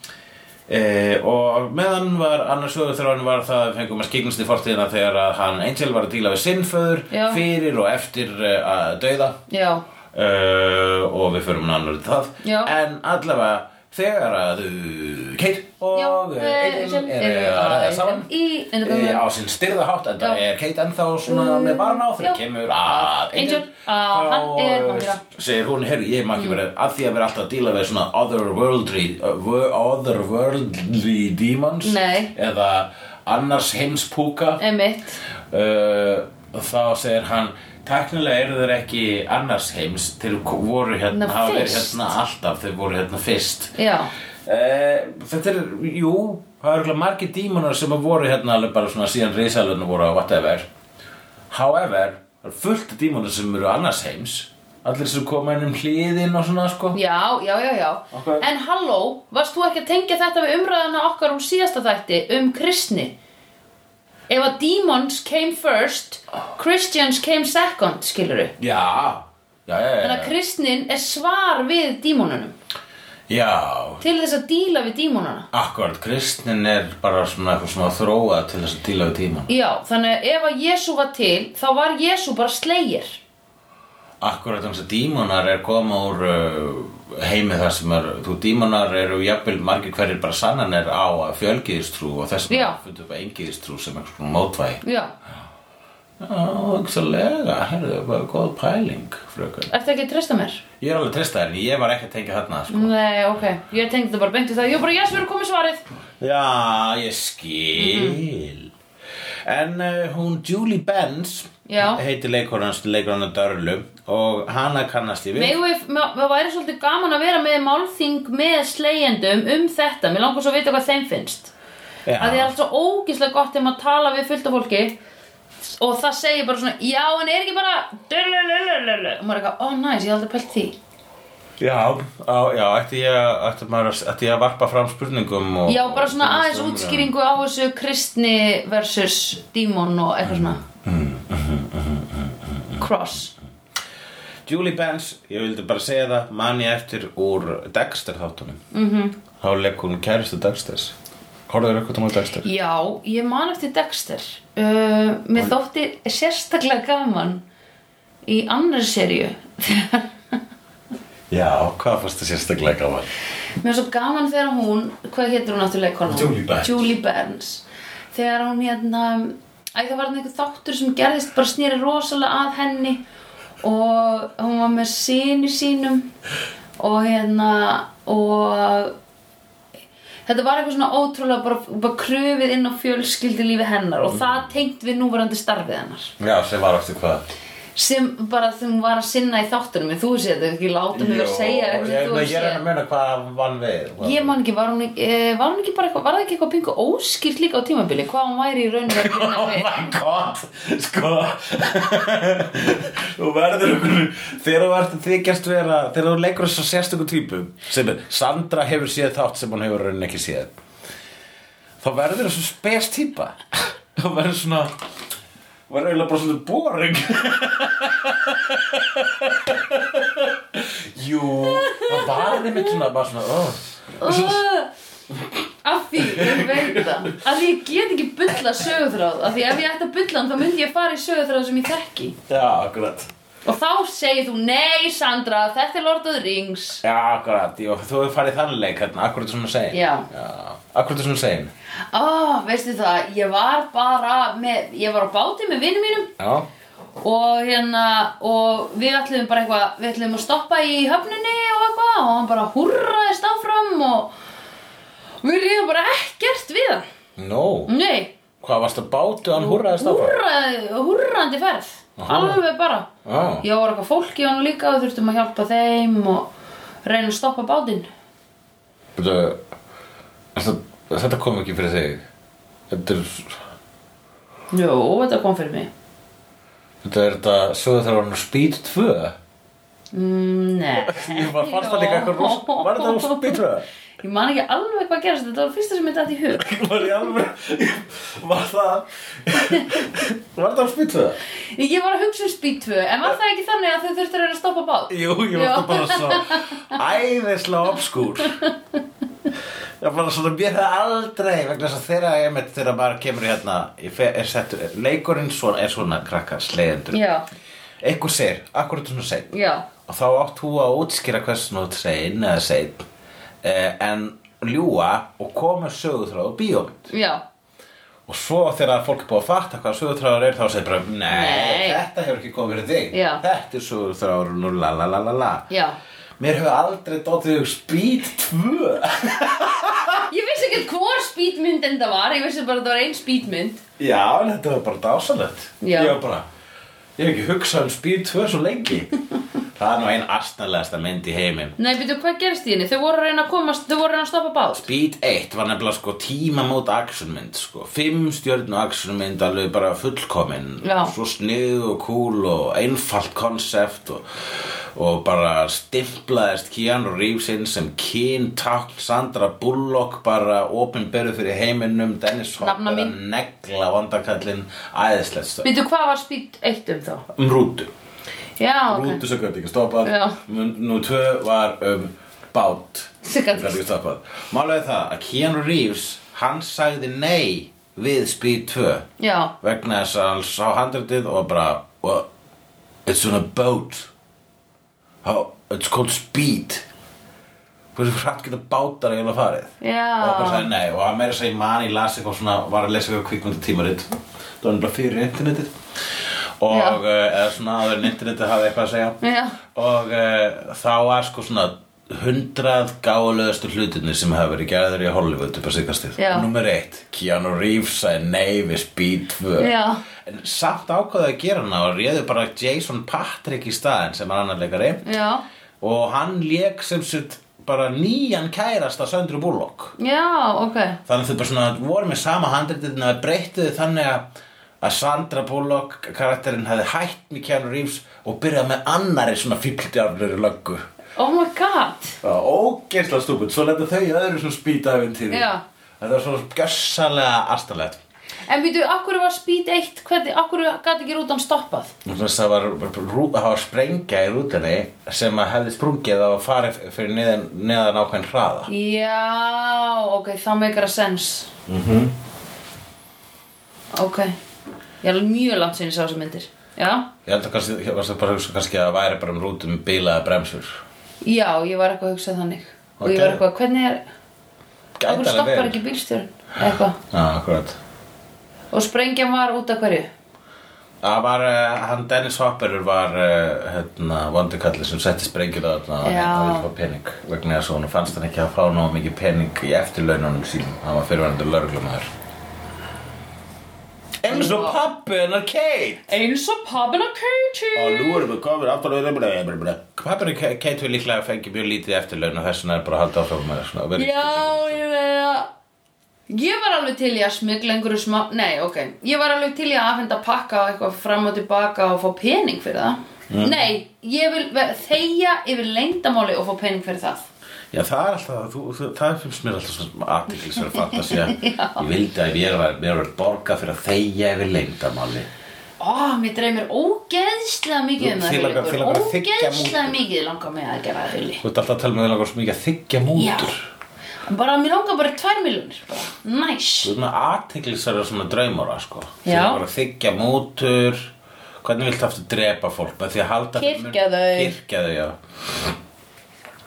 Speaker 3: e, og meðan var annars sögur þrjóðan var það að fengum að skiknast í fortíðina þegar að hann Angel var að díla við sinnföður
Speaker 2: Já.
Speaker 3: fyrir og eftir eh, að dauða
Speaker 2: Já,
Speaker 3: uh, og við förum annar í það
Speaker 2: Já.
Speaker 3: en allavega þegar að uh, Kate og
Speaker 2: Já,
Speaker 3: eh,
Speaker 2: eh,
Speaker 3: Angel
Speaker 2: sem
Speaker 3: eru
Speaker 2: eru
Speaker 3: að ræða
Speaker 2: að-
Speaker 3: saman
Speaker 2: í- in the
Speaker 3: eh,
Speaker 2: room.
Speaker 3: á sinn styrða hátt en það
Speaker 2: Já. Mm,
Speaker 3: er Kate ennþá svona með varna á
Speaker 2: Já.
Speaker 3: þegar kemur að Angel
Speaker 2: Angel, að Mm. hann er vampíra.
Speaker 3: þá segir hún, herru, ég má ekki verið að því að vera alltaf að díla við svona otherworldly uh, wo- otherworldly demons
Speaker 2: Nei. Eh.
Speaker 3: eða annars heimspúka
Speaker 2: einmitt
Speaker 3: uh, þá segir hann Tæknilega eru þeir ekki annars heims þeir voru hérna,
Speaker 2: Ná,
Speaker 3: hafa verið
Speaker 2: fyrst.
Speaker 3: hérna alltaf, þeir voru hérna fyrst
Speaker 2: Já,
Speaker 3: uh, Þetta er, jú, það eru örugglega margir dímonar sem voru hérna alveg bara svona síðan risalunum voru á whatever However, það eru fullt af dímonar sem eru annars heims Allir sem koma inn um hliðin og svona sko
Speaker 2: já, já, já, já
Speaker 3: Ok.
Speaker 2: En halló, varst þú ekki að tengja þetta við umræðana okkar um síðasta þætti um kristni? Ef að demons came first, Christians came second, skilurðu
Speaker 3: Já, já, já,
Speaker 2: Þannig að
Speaker 3: já,
Speaker 2: kristnin er svar við dímonunum
Speaker 3: já.
Speaker 2: Til þess að díla við dímonuna
Speaker 3: Akkurat, kristnin er bara svona eitthvað svona þróað til þess að díla við tíman
Speaker 2: Já, þannig að ef að Jésu var til, þá var Jésu bara slegir
Speaker 3: Akkurat þannig að dímonar er koma úr uh, heimi þar sem er, þú dímonar eru jafnvel margir hverjir bara sannanir á að fjölgiðistrú og þess
Speaker 2: Já.
Speaker 3: að fundu upp að engiðistrú sem einhvers konar mótvæði.
Speaker 2: Já,
Speaker 3: Já, auksalega, herðu, bara góð pæling, frökun.
Speaker 2: ertu ekki að treysta mér?
Speaker 3: Ég er alveg treysta þér en ég var ekki að tengja þarna, sko.
Speaker 2: Nei, ok, ég tengdi þetta bara beint í það Ég var bara, Jésu er komið svarið
Speaker 3: Já, ég skil. En uh, hún Julie Benz
Speaker 2: Já.
Speaker 3: heitir leikonans, leikonans Dörlu og hana kannast ég við.
Speaker 2: Megum við, mér mér væri svolítið gaman að vera með málþing með slegjendum um þetta, mér langar svo að vita hvað þeim finnst.
Speaker 3: Já.
Speaker 2: Að því er alltaf ógíslega gott ef maður tala við fullt af fólki og það segir bara svona, já en er ekki bara, dulululululu, og maður er eitthvað, ó oh, næs, ég hef aldrei pælt því.
Speaker 3: Já, á, já, ætti ég, að- ætti maður, að- ætti ég að varpa fram spurningum og,
Speaker 2: Já, bara svona
Speaker 3: og-
Speaker 2: aðeins útskýringu á þessu kristni versus dímon og eitthvað svona. Cross.
Speaker 3: Julie Benz, ég vildi bara segja það, man ég eftir úr Dexter þáttunum mm
Speaker 2: Mhm.
Speaker 3: -hmm. Þá legg hún kæristu Dexters Horfður eitthvað tónum á Dexter?
Speaker 2: Já, ég man eftir Dexter uh, Mér þótti sérstaklega gaman í annari serju
Speaker 3: Já, hvað fannst það sérstaklega gaman?
Speaker 2: Mér var svo gaman þegar hún Hvað hétur hún aftur leikona?
Speaker 3: Julie Benz.
Speaker 2: Julie Benz Þegar hún hérna Æ, það var hann einhver þáttur sem gerðist bara snýri rosalega að henni og hún var með sinni sínum og hérna og þetta var eitthvað svona ótrúlega bara, bara kröfið inn á fjölskyldi lífi hennar
Speaker 3: Mm.
Speaker 2: og það tengt við núverandi starfið hennar
Speaker 3: Já, sem var eftir hvað?
Speaker 2: sem bara þegar hún var að sinna í þáttunum en þú sé þetta ekki láta mig að segja
Speaker 3: Jó,
Speaker 2: eitthvað sem
Speaker 3: hérna, ég,
Speaker 2: þú
Speaker 3: ég, ég er
Speaker 2: sé.
Speaker 3: enn að meina hvað vann við hvað-
Speaker 2: Ég man ekki, var hún ekki, eh, var hún ekki bara eitthvað, var það ekki eitthvað pingu óskýrt líka á tímabili, hvað hún væri í rauninu að vinna
Speaker 3: Oh
Speaker 2: við?
Speaker 3: my god, sko Þú verður okkur Þegar þú ert þykjast vera Þegar þú leikur þess að sérstöku típu sem er, Sandra hefur séð þátt sem hún hefur raunin ekki séð Þá verður þessu spes típa Þá verður svona Verður eiginlega bara svona boring Jú, það var einmitt svona bara svona oh.
Speaker 2: Uh, af því Ég veit það Að því ég get ekki bulla sögutráð Að því ef ég ætti að bulla hann þá myndi ég fara í sögutráð sem ég þekki
Speaker 3: Já, akkurat
Speaker 2: Og þá segir þú Nei Sandra, þetta er Lord of the Rings
Speaker 3: Já, akkurat, Jó, þú hefur farið þann leik hérna, akkurat svona segin
Speaker 2: Já.
Speaker 3: Akkurat svona segin
Speaker 2: Ó, veistu það, ég var bara með, Ég var á báti með vinum mínum
Speaker 3: Já,
Speaker 2: og hérna og við ætlum bara eitthvað við ætlum að stoppa í höfninni og eitthvað og hann bara húrraðist áfram og við líðum bara ekkert við hann
Speaker 3: no
Speaker 2: nei,
Speaker 3: Hvað varst að bátu hann húrraðist áfram?
Speaker 2: húrraði, húrrandi ferð alveg bara
Speaker 3: Já.
Speaker 2: ég var eitthvað fólk í hann líka og þurftum að hjálpa þeim og reyna að stoppa bátinn
Speaker 3: Bíddu, Þetta, þetta kom ekki fyrir þig Þetta er,
Speaker 2: jú, þetta kom fyrir mig
Speaker 3: þetta er þetta sögur þegar hann speed 2
Speaker 2: mm, nei
Speaker 3: Ég var fannst það líka eitthvað rost Var þetta á speed 2?
Speaker 2: ég man ekki alveg hvað gerist þetta var það fyrsta sem ég dætt í hug
Speaker 3: Var ég alveg Var það Var það á speed 2?
Speaker 2: Ég var að hugsa um Speed 2, en var það ekki þannig að þau þurftu að reyna að stoppa bát?
Speaker 3: Jú, ég
Speaker 2: Já.
Speaker 3: var bara svo æðislega obskúr Ég var bara svona, mér hefði aldrei vegna þess að þeirra ég mitt þeirra bara kemur hérna ég fe- er settur, leikurinn svona, er svona krakkar, slegjendur
Speaker 2: Já,
Speaker 3: Eitthvað segir, akkur er svona segir
Speaker 2: já,
Speaker 3: og þá átt þú að útskýra hversu nú segin eða segin eh, en ljúa og koma sögutráð og bíómynd
Speaker 2: já,
Speaker 3: og svo þegar fólk er búið að fatta hvað sögutráður er þá segir bara, nei,
Speaker 2: Nei.
Speaker 3: þetta hefur ekki komið fyrir þig
Speaker 2: Já.
Speaker 3: þetta er sögutráður og la la la la la
Speaker 2: já.
Speaker 3: Mér hefur aldrei dottið hug Speed 2
Speaker 2: Ég vissi ekki hvor speedmynd en það var, ég vissi bara að það var ein speedmynd.
Speaker 3: Já, en þetta var bara dásalett
Speaker 2: Já.
Speaker 3: Ég var bara Ég hef ekki hugsað um Speed 2 svo lengi Það er nú ein astnalegasta mynd í heiminn
Speaker 2: Nei, veitu, hvað gerist í henni? Þau voru að reyna að komast, þau voru að reyna að stoppa bát.
Speaker 3: Speed 1 var nefnilega sko tímamót actionmynd sko. Fimm stjörnu actionmynd alveg bara fullkomin
Speaker 2: Já.
Speaker 3: Svo snið og cool og einfalt konsept og, og bara stimplaðist Keanu Reeves inn sem Keen Takl, Sandra Bullock bara opinberðu fyrir heiminum Dennis Hopper
Speaker 2: Nafna
Speaker 3: að
Speaker 2: mín.
Speaker 3: negla vandakallinn æðislegt stöð
Speaker 2: Veitu, hvað var Speed 1 um þá?
Speaker 3: Um rútu
Speaker 2: Já, ok.
Speaker 3: Rútu sem gæti ekki stoppað
Speaker 2: Já.
Speaker 3: Nú tvö var um bát
Speaker 2: Sem gat ekki
Speaker 3: ekki stoppað Málega er það að Keanu Reeves hann sagði nei við Speed 2
Speaker 2: Já,
Speaker 3: vegna þess að hann sá handritið og bara well, It's on a boat How, It's called Speed Hversu hratt geta bátar eiginlega farið og hann bara
Speaker 2: já.
Speaker 3: sagði nei og hann meira að segja mann í las eitthvað svona var að lesa eitthvað kvikmyndatímarit það var bara fyrir internetið og uh,
Speaker 2: Já.
Speaker 3: eða svona áður en internetið hafði eitthvað að segja
Speaker 2: Já.
Speaker 3: og uh, þá var sko svona hundrað gáðulegustu hlutinni sem hafa verið gerður í Hollywood upp að síkastið
Speaker 2: Já.
Speaker 3: Númer eitt, Keanu Reeves sagði nei við Speed 2
Speaker 2: Já.
Speaker 3: En samt ákvaði að gera hana og réðu bara Jason Patrick í staðinn sem er annar leikari
Speaker 2: Já,
Speaker 3: og hann lék sem sitt bara nýjan kærasta Söndru Bullock
Speaker 2: já, ok.
Speaker 3: þannig að þau bara svona voru með sama handritin að breyttu þau þannig að að Sandra Bullock karakterinn hefði hætt með Keanu Reeves og byrjað með annari svona fíldjarnur löggu
Speaker 2: Oh my god.
Speaker 3: ógeðslega stúpid, svo leta þau í öðru svona spýtaðaventýri
Speaker 2: Já.
Speaker 3: þetta var svona gjössalega astalegt
Speaker 2: En veitu, akkur var Speed 1, hvernig, akkur gæti ekki rútan stoppað?
Speaker 3: það var, rú, það var sprengja í rútinni sem að hefði sprungið að fara fyrir neðan, neðan ákveðin hraða
Speaker 2: Já, ok, það meikar að sens mm
Speaker 3: Mhm.
Speaker 2: -hmm. Ok Ég er alveg mjög langt sinni sá sem myndir Já,
Speaker 3: ég held að kannski, ég varst að bara hugsa kannski að það væri bara um rútum með bilaða bremsur
Speaker 2: já, ég var eitthvað að hugsa þannig Og ég
Speaker 3: Ok.
Speaker 2: var eitthvað, hvernig er
Speaker 3: Gæti
Speaker 2: Akkur
Speaker 3: alveg
Speaker 2: stoppar
Speaker 3: verið.
Speaker 2: ekki bílstjórn Eitthvað
Speaker 3: já, akkurat
Speaker 2: Og sprengjan var út af hverju
Speaker 3: Það var, uh, hann Dennis Hopper var uh, hérna, vondukalli sem setti sprengjur á þarna og
Speaker 2: Já.
Speaker 3: hann vildi fá pening vegna þess að hún fannst hann ekki að fá nóg mikið pening í eftirlaununum sínum hann var fyrirværendur lörglumæður eins og pappi hennar Kate
Speaker 2: Eins og pappina Katie
Speaker 3: og nú erum við komin aftur og erum pappi hennar Kate við líklega fengið mjög lítið eftirlaun og þess vegna er bara að halda áfram með svona, og verið-
Speaker 2: Já, ég veit það Ég var alveg til í að smugla einhverju smá Nei, ok Ég var alveg til í að afhenda pakka og eitthvað fram og tilbaka og fá pening fyrir það Nei, ég vil ve- þegja yfir leyndamáli og fá pening fyrir það
Speaker 3: Já, það er alltaf, þú, þú, það finnst mér alltaf svona aðtiklisverð fantasía. ég vildi að mér var, mér var borga fyrir að þegja yfir leyndamáli.
Speaker 2: Ó, mér dreymir ógeðslega mikið um
Speaker 3: Þú-
Speaker 2: það
Speaker 3: þig langar-
Speaker 2: Haukur.
Speaker 3: þig langar að þiggja
Speaker 2: Ógeðslega mikið langar mig að gera það hulli
Speaker 3: um Þú ert alltaf að tala með þig langar svo mikið að þykja mútur.
Speaker 2: Já, bara mér langar bara tvær miljonir bara, næs
Speaker 3: Þú ert með aðteglisara svona draumara sko
Speaker 2: Já.
Speaker 3: Þeir bara þykja mútur Hvernig viltu aftur drepa fólk með því að halda
Speaker 2: Kyrkja þau.
Speaker 3: Kirkja þau, já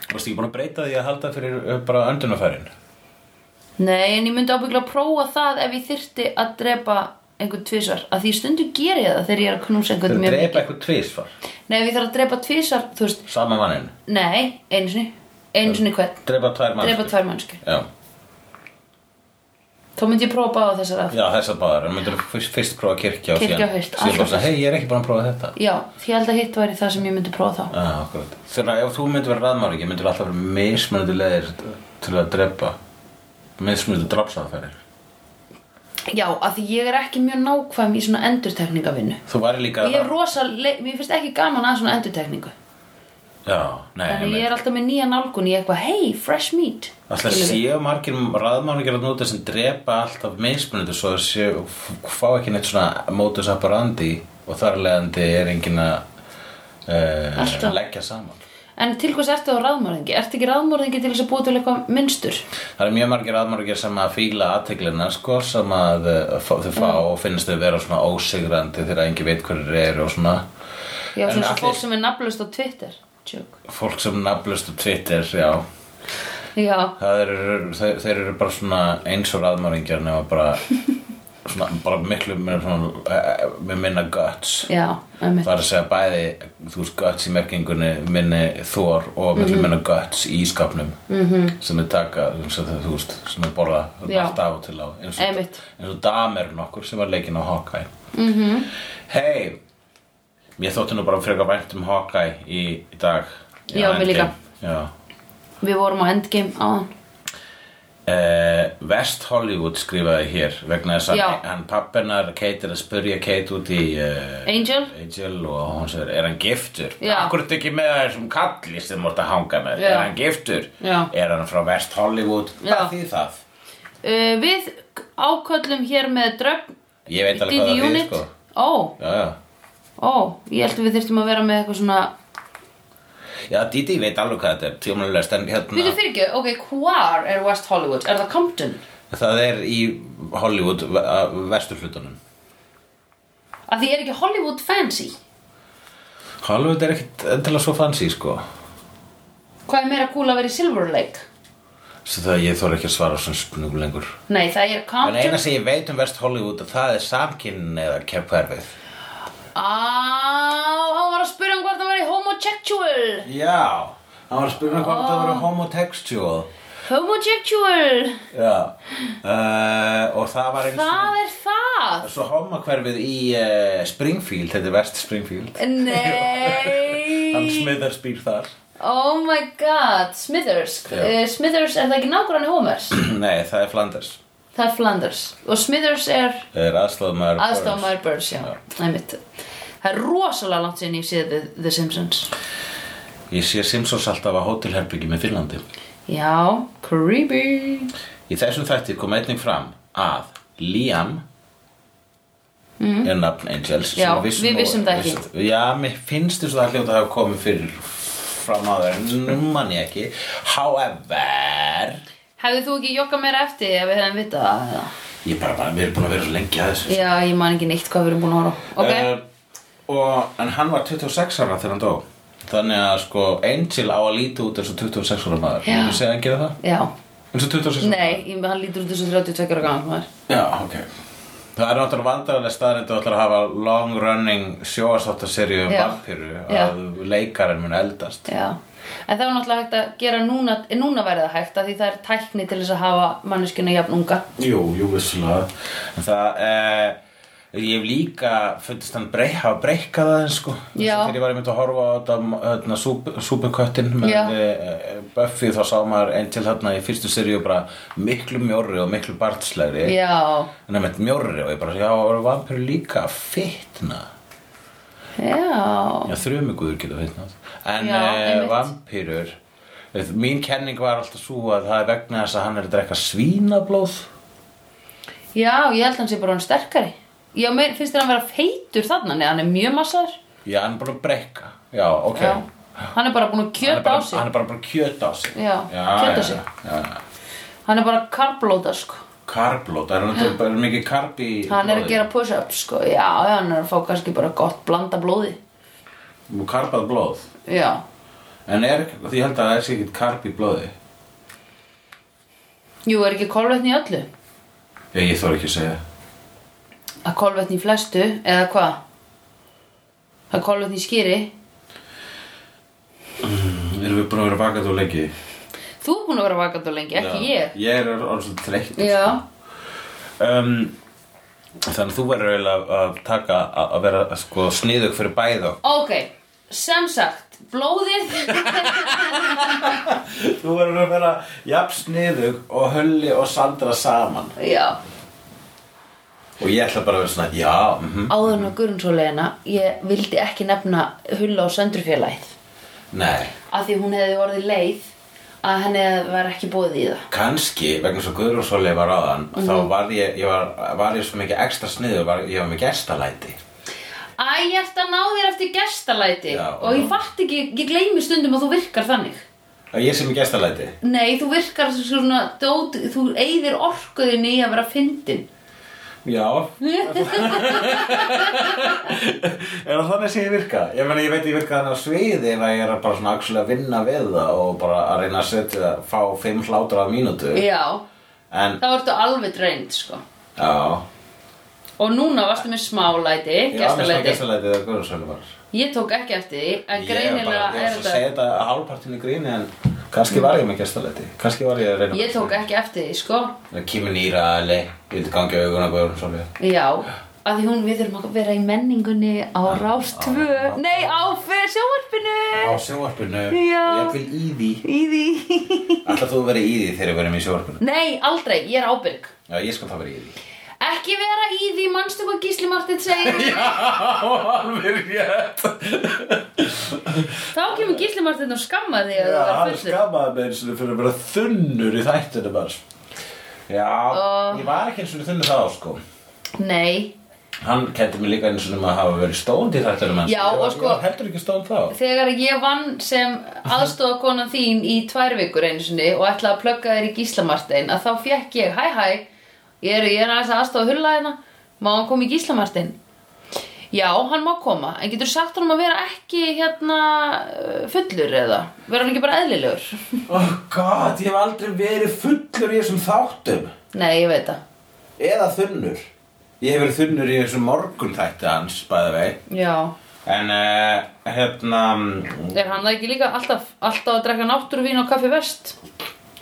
Speaker 3: Varstu ekki búin að breyta því að halda fyrir uh, bara öndunafærin
Speaker 2: Nei, en ég myndi ábyggla að prófa það ef ég þyrfti að drepa einhvern tvisar að því stundum ger ég það þegar ég er að knúsa
Speaker 3: Þeir
Speaker 2: einhvern mjög mikið
Speaker 3: drepa eitthvað tvisvar
Speaker 2: Nei, ef ég þarf að drepa tvisar, þú veist
Speaker 3: Sama mannin
Speaker 2: Nei, einu sinni, einu sinni hvern
Speaker 3: Drepa tvær mann
Speaker 2: Drepa tvær mannskjur
Speaker 3: Já,
Speaker 2: Þá myndi ég prófa að báða þessar að
Speaker 3: já þessar báðar En myndir fyrst, fyrst prófa kirkja og
Speaker 2: Kirkja
Speaker 3: síðan-
Speaker 2: fyrst,
Speaker 3: Síðan bara
Speaker 2: alltaf.
Speaker 3: svo, hei, ég er ekki búin að prófa þetta
Speaker 2: Já, því ég held að hitt væri það sem ég myndi prófa þá
Speaker 3: Já, Ah, akkurat Þegar ef þú myndir vera raðmáringi myndir alltaf vera mismunandi leðir til að drepa Mismunandi drapsaðferðir
Speaker 2: Já, að því ég er ekki mjög nákvæm í svona endurtekningavinnu
Speaker 3: Þú væri líka
Speaker 2: Ég er rosa, le- mér finnst ekki gaman að svona endurtekningu
Speaker 3: Já, nei,
Speaker 2: Þannig ég
Speaker 3: einmitt.
Speaker 2: er alltaf með nýja nálgun í eitthvað Hey, fresh meat
Speaker 3: Alltaf
Speaker 2: Skilurðu?
Speaker 3: séu margir raðmáringir að núti sem drepa alltaf mismunandi svo að séu, f- fá ekki neitt svona modus operandi og þar leðandi er engin að uh,
Speaker 2: Alltaf.
Speaker 3: leggja saman
Speaker 2: En til hvers ertu þá ráðmörðingi? Ertu ekki ráðmörðingi til þess að búa til eitthvað mynstur?
Speaker 3: Það eru mjög margir aðmargir sem að fíla aðteglina sko, sem að eh, fá- þau fá
Speaker 2: Mm.
Speaker 3: og finnst þau vera svona ósigrandi þegar engin veit hverju eru og svona
Speaker 2: Já,
Speaker 3: En
Speaker 2: svona
Speaker 3: allir-
Speaker 2: allir... fólk sem er nafnlaust á Twitter Tjók
Speaker 3: fólk sem nafnlust og Twitter, já
Speaker 2: Já,
Speaker 3: Það eru, þeir, þeir eru bara svona eins og raðmörðingjar nema bara svona, bara miklu meira svona, eh, með minna guts
Speaker 2: já, emmitt
Speaker 3: Það er að segja bæði, þú veist, guts í merkingunni minni þor
Speaker 2: Mhm.
Speaker 3: og miklu minna guts í ískapnum -hmm. sem er taka, sem það, þú veist, sem er borða
Speaker 2: Já.
Speaker 3: allt af og til á eins og,
Speaker 2: Einmitt.
Speaker 3: eins og damer nokkur sem var leikinn á Hawkeye mm
Speaker 2: Mhm.
Speaker 3: -hmm. Hei, mér þótti nú bara frekar vænt um Hawkeye í, í dag í
Speaker 2: Já, mér
Speaker 3: Endgame.
Speaker 2: líka.
Speaker 3: Já.
Speaker 2: Við vorum á Endgame áðan
Speaker 3: Eh, West Hollywood skrifaði hér vegna þess að
Speaker 2: Já.
Speaker 3: hann pappinar Kate er að spyrja Kate út í uh,
Speaker 2: Angel?
Speaker 3: Angel og hún segir, er hann giftur?
Speaker 2: Já.
Speaker 3: Akkur er ekki með þessum kalli sem þú ert að hanga með?
Speaker 2: Já.
Speaker 3: Er hann giftur?
Speaker 2: Já.
Speaker 3: Er hann frá West Hollywood?
Speaker 2: Já.
Speaker 3: Hvað þýð það?
Speaker 2: uh, Við áköllum hér með dröfn
Speaker 3: Ég veit alveg hvað það þýð sko
Speaker 2: Ó,
Speaker 3: Já, já
Speaker 2: ó, ég held að við þyrftum að vera með eitthvað svona
Speaker 3: Já, Didi veit alveg hvað þetta er tjómanlega en
Speaker 2: Við
Speaker 3: hérna
Speaker 2: þau fyrir ekki, ok, hvar er West Hollywood? Er það Compton?
Speaker 3: Það er í Hollywood, vestur hlutunum
Speaker 2: Að því er ekki Hollywood fancy
Speaker 3: Hollywood er ekkit endilega svo fancy sko
Speaker 2: Hvað er meira cool að vera í Silver Lake?
Speaker 3: Svo það ég þóra ekki að svara á svona spurningu lengur
Speaker 2: Nei, það er
Speaker 3: En eina
Speaker 2: Compton
Speaker 3: sem ég veit um West Hollywood að það er samkynnin eða kjærferfið.
Speaker 2: Á, hann var að spyrja um hvort það væri homosexual
Speaker 3: Já, hann var að spyrja hvað oh. það var homotextual.
Speaker 2: Homosexual
Speaker 3: Já, uh, og það var eins
Speaker 2: Það er það
Speaker 3: Svo homokverfið í uh, Springfield, þetta er West Springfield. Hann
Speaker 2: Nei
Speaker 3: smiðar spýr þar.
Speaker 2: Oh my god Smithers
Speaker 3: Já.
Speaker 2: uh, Smithers er það ekki nákvæmni Homers
Speaker 3: Nei, það er Flanders.
Speaker 2: Það er Flanders Og Smithers er
Speaker 3: Það er aðstofmaður.
Speaker 2: aðstofmaður Burns Já, einmitt Það er rosalega langt sinni ég séð The, The Simpsons
Speaker 3: Ég sé Simpsons alltaf á hótelherbyggi með Finnlandi.
Speaker 2: Já, creepy
Speaker 3: Í þessum þætti kom einnig fram að Liam mm. er nafn Angels sem
Speaker 2: Já,
Speaker 3: við vissum,
Speaker 2: við vissum það
Speaker 3: vissum- Já, mér finnst þess að það hljóta að hafa komið fyrir fram að það en nú man ég ekki However
Speaker 2: Hefði þú ekki jokkað mér eftir ef við hefðum vitað það eða?
Speaker 3: Ég bara, bara, við erum búin að vera svo lengi að þessu
Speaker 2: Já, ég man ekki neitt hvað við erum búin að horfa á. Ok,
Speaker 3: Eh, og, En hann var 26 ára þegar hann dó Þannig að sko Angel á að líti út eins og 26 ára maður
Speaker 2: Já.
Speaker 3: Þú segir hann gera það?
Speaker 2: já
Speaker 3: Eins og 26 ára
Speaker 2: Nei, ég, hann lítur út þessu 32 ára gaman maður
Speaker 3: Já, ok Það er náttúrulega vandarlega staðrind að ætlar að hafa long running sjóastáttaserju um
Speaker 2: Já.
Speaker 3: vampíru
Speaker 2: Já.
Speaker 3: að leikarinn mun eldast
Speaker 2: Já, en það var náttúrulega hægt að gera núna, en núna væri það hægt að því það er tækni til þess að hafa manneskjuna jafn unga.
Speaker 3: Jú, jú, vissulega En það, eh, ég hef líka fundist hann breyk, hafa breykað það sko
Speaker 2: Já.
Speaker 3: Þegar ég var einmitt að horfa á þetta hérna, súp, súpenköttin með
Speaker 2: Já.
Speaker 3: eh, Buffy þá sá maður Angel hérna í fyrstu serju bara miklu mjórri og miklu barnslegri
Speaker 2: Já,
Speaker 3: En einmitt mjórri og ég bara, já, eru vampíru líka fitna
Speaker 2: já,
Speaker 3: Já, þrjumugúður geta veitnað En
Speaker 2: Já,
Speaker 3: uh,
Speaker 2: einmitt.
Speaker 3: vampýrur Mín kenning var alltaf svo að það er vegna þess að hann er að drekka svínablóð
Speaker 2: já, ég held að hann sé bara hann sterkari. Já, mér finnst þér hann vera feitur þarna, neða hann er mjög massaður.
Speaker 3: Já, hann er bara að brekka Já, ok
Speaker 2: Já, hann er bara búin að
Speaker 3: Hann er
Speaker 2: kjöta
Speaker 3: bara,
Speaker 2: á sig.
Speaker 3: hann er bara að kjöta á sig
Speaker 2: Já, kjöta á sig.
Speaker 3: já, já, já.
Speaker 2: Hann er bara karblóta sko
Speaker 3: Karblót, er hann er bara mikið karb í
Speaker 2: Hann er að
Speaker 3: blóði?
Speaker 2: gera push-up sko Já, já, hann er að fá kannski bara gott blanda blóði
Speaker 3: Karbað blóð
Speaker 2: Já,
Speaker 3: En er, því ég held að það er sér ekkert karb í blóði
Speaker 2: jú, er ekki kolvetni í öllu?
Speaker 3: Já, ég þóra ekki að segja
Speaker 2: Að kolvetni í flestu, eða hvað? Að kolvetni í skýri Mhm.
Speaker 3: Erum við búin að vera vakað og lengi?
Speaker 2: Þú er búin að vera vakant og lengi, ekki ég
Speaker 3: Ég er orðsvöld þreytt
Speaker 2: Já,
Speaker 3: um, Þannig að þú verður eiginlega að taka að að vera sko sniðug fyrir bæð og
Speaker 2: ok, sem sagt Blóðið
Speaker 3: Þú verður að vera jafn sniðug og hölli og sandra saman
Speaker 2: Já,
Speaker 3: Og ég ætla bara að vera svona, já, mhm
Speaker 2: áður en á Guðrunnsóleina Ég vildi ekki nefna Hulla og Söndrufélagið
Speaker 3: Nei,
Speaker 2: Af því hún hefði orðið leið Að henni var ekki bóðið í það
Speaker 3: kannski vegna svo Guðrún Sólei var áðan þá var ég, ég var, var ég svo mikið ekstra sniður, var, ég var með gestalæti
Speaker 2: Æ, ég ert að ná þér eftir gestalæti
Speaker 3: Já,
Speaker 2: og ég
Speaker 3: já.
Speaker 2: fatt ekki, ég gleymi stundum að þú virkar þannig.
Speaker 3: að ég sem er gestalæti
Speaker 2: Nei, þú virkar svona, dót, þú eyðir orkuðinni í að vera fyndin.
Speaker 3: Já Er það þannig sem ég virka? Ég meni, ég veit ég virka þannig á sviði ef að ég er bara svona axil að vinna við það og bara að reyna að setja, fá fimm hlátur af mínútu
Speaker 2: Já,
Speaker 3: En,
Speaker 2: þá ertu alveg dreind, sko.
Speaker 3: já
Speaker 2: Og núna varstu með smálæti,
Speaker 3: Gestalæti
Speaker 2: gestalæti.
Speaker 3: Gestalæti þegar Guðrún Sólei var
Speaker 2: Ég tók ekki eftir því, en
Speaker 3: Ég er bara
Speaker 2: greinilega er
Speaker 3: ég var að segja
Speaker 2: þetta...
Speaker 3: þetta hálfpartinu gríni en kannski var ég með gestalæti Kannski var ég að reyna
Speaker 2: Ég tók ekki eftir því, sko.
Speaker 3: Kimi Nýra, Ali, ég vildi gangi auguna Guðrún Sólei
Speaker 2: Já, að því hún, við þurfum að vera í menningunni á rástvö. Nei, á fe- sjónvarpinu!
Speaker 3: Á sjónvarpinu,
Speaker 2: Já.
Speaker 3: ég vil í því
Speaker 2: Í því.
Speaker 3: Alltaf þú verið í því þegar ég verið með í sjónvarpinu
Speaker 2: Nei, aldrei, ég er ábyrg.
Speaker 3: Já, ég skal það verið í því
Speaker 2: Ekki vera í því, manstu hvað Gísli Martin segir?
Speaker 3: Já, alveg rétt
Speaker 2: Þá kemur Gísli Martin og skammar því að þú
Speaker 3: Já, hann
Speaker 2: verður fullur.
Speaker 3: skammaði með eins og fyrir að vera þunnur í þættinu bara Já,
Speaker 2: Ó.
Speaker 3: ég var ekki eins og þunnur þá sko
Speaker 2: Nei,
Speaker 3: Hann kendi mér líka eins og um að hafa verið stónd í þættinu manns
Speaker 2: Já,
Speaker 3: Ég var-
Speaker 2: og sko-
Speaker 3: Ég var heldur ekki stónd þá
Speaker 2: þegar ég vann sem
Speaker 3: Mhm.
Speaker 2: aðstofa konan þín í tvær vikur einu sinni og ætlaði að plugga þér í Gísla Martin að þá fekk ég, hæ hæ, ég er, ég er aðeins að aðstofa hulla hérna, má hann koma í Gísla Martin? Já, hann má koma, en getur sagt honum að vera ekki hérna uh, fullur eða? Verður hann ekki bara eðlilegur?
Speaker 3: Oh god, ég hef aldrei verið fullur í þessum þáttum
Speaker 2: Nei, ég veit það.
Speaker 3: Eða þunnur Ég hef verið þunnur í þessum morgun þætti hans, bæði vei
Speaker 2: Já.
Speaker 3: En uh, hérna
Speaker 2: Er hann það ekki líka alltaf, alltaf að drekka náttúruvín og kaffi vest?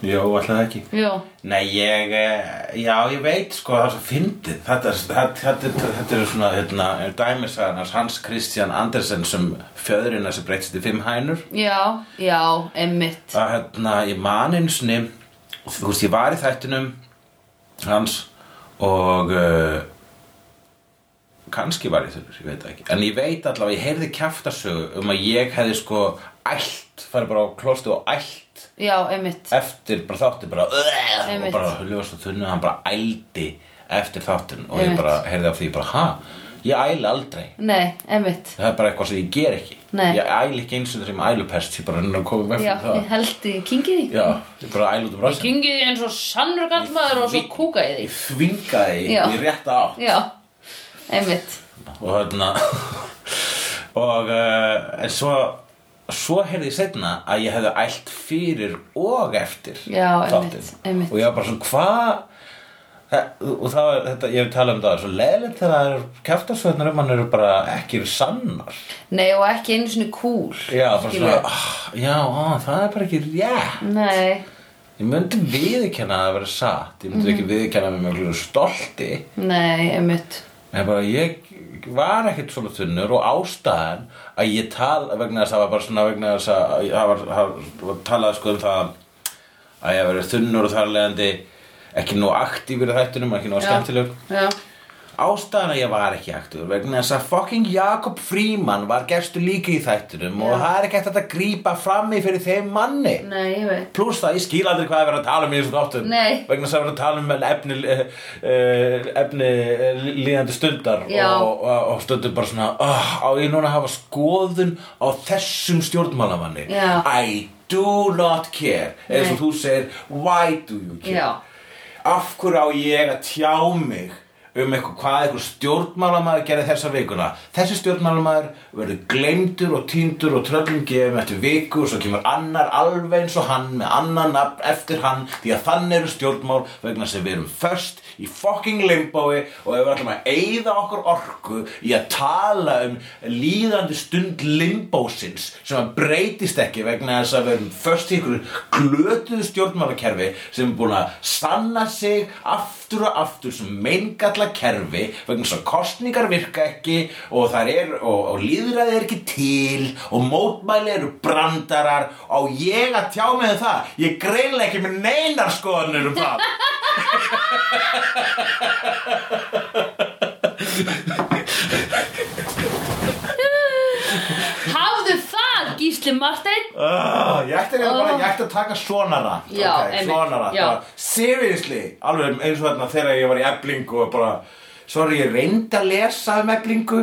Speaker 3: Jó, alltaf ekki
Speaker 2: Jó.
Speaker 3: Nei, ég, eh, já, ég veit sko það er svo fyndið Þetta, er- þetta, þetta, er- þetta er svona, hérna, dæmisagarnas Hans Christian Andersen sem fjöðurina sem breytist í fimm hænur
Speaker 2: Já, já, emmitt
Speaker 3: að hérna, ég man einu sinni þú veist, ég var í þættinum hans og uh, kannski var ég þurr, ég veit það ekki en ég veit allavega, ég heyrði kjaftasögu um að ég hefði sko ælt farið bara á klostu og ælt
Speaker 2: Já, emmitt
Speaker 3: eftir bara þáttin bara "Ugh", og
Speaker 2: Einmitt.
Speaker 3: bara ljóst og þunnu, hann bara ældi eftir þáttin og ég
Speaker 2: Einmitt.
Speaker 3: bara heyrði af því bara, ha, ég æli aldrei
Speaker 2: Nei, emmitt
Speaker 3: það er bara eitthvað sem ég ger ekki
Speaker 2: Nei.
Speaker 3: ég æli ekki eins og þegar ég er með ælupest ég bara hennar að koma með
Speaker 2: Já,
Speaker 3: fyrir það
Speaker 2: ég held í kingið því
Speaker 3: Já, ég bara æla út um rassin
Speaker 2: Kingið því eins og sannur gallmaður og svo kúka í því
Speaker 3: Ég þvingaði
Speaker 2: Já.
Speaker 3: í rétta á
Speaker 2: Já, emmitt
Speaker 3: Og hérna Og uh, En svo Svo heyrði ég setna að ég hefði ælt fyrir og eftir
Speaker 2: Já,
Speaker 3: þáttinn.
Speaker 2: einmitt, einmitt.
Speaker 3: Og ég var bara svona, hvað Það- Og það var þetta, ég hef talað um það Svo leiðilegt þegar kæftasvöðnar um hann eru bara ekki sannar
Speaker 2: Nei, og ekki einu sinni kúl
Speaker 3: Já, bara svona,
Speaker 2: skilur.
Speaker 3: ah, já, á, það er bara ekki rétt
Speaker 2: Nei,
Speaker 3: Ég myndi viðurkenna að vera satt Ég myndi
Speaker 2: Mhm.
Speaker 3: ekki viðurkenna með mjög mjög stolti
Speaker 2: nei, emmitt
Speaker 3: En bara ég var ekkert svona þunnur og ástæðan að ég tala vegna þess að það var bara svona vegna þess að það var, það var talað sko um það að ég verið þunnur og þar af leiðandi ekki nóg aktífur í þættunum, ekki nóg skemmtileg
Speaker 2: Já,
Speaker 3: Ástæðan að ég var ekki aktífur vegna þess að fucking Jakob Fríman var gestur líka í þættunum og það er ekki hægt að grípa frammi fyrir þeim manni
Speaker 2: nei, ég veit
Speaker 3: Plus það, ég skil aldrei hvað er verið að tala um í þessum þáttum
Speaker 2: Nei.
Speaker 3: Vegna þess að verið að tala um efni, uh, efni eh, líðandi stundar
Speaker 2: Já.
Speaker 3: Og, og, og stundum "Ah, bara svona oh, Á ég núna að hafa skoðun á þessum stjórnmálamanni
Speaker 2: Já.
Speaker 3: Æ, do not care eða
Speaker 2: Nei.
Speaker 3: svo þú segir why do you care
Speaker 2: Já.
Speaker 3: af hverju á ég að tjá mig um eitthvað, hvað eitthvað stjórnmálamaður gerði þessa vikuna þessi stjórnmálamaður verður gleymdur og týndur og tröllum gefum eftir viku og svo kemur annar alveg eins og hann með annan nafn eftir hann því að þann eru stjórnmál vegna sem við erum först í fucking limbói og ef við ætlum að eyða okkur orku í að tala um líðandi stund limbósins sem að breytist ekki vegna þess að við erum först í ykkur glötuðu stjórnmálakerfi sem er búin að sanna sig aftur og aftur sem meingalla kerfi vegna þess að kostningar virka ekki og, þær er, og, og líðræði er ekki til og mótmæli eru brandarar og ég að tjá mig um það ég er greinlega ekki með neinar skoðanur um það
Speaker 2: Hafðu það, Gísli Marteinn
Speaker 3: Oh, ég ætti oh. bara, ég ætti að taka svona rant
Speaker 2: Já,
Speaker 3: ok,
Speaker 2: einmitt,
Speaker 3: svona rant
Speaker 2: já.
Speaker 3: bara, Seriously, alveg eins og þarna þegar ég var í eblingu og bara Sorry, ég reyndi að lesa um eblingu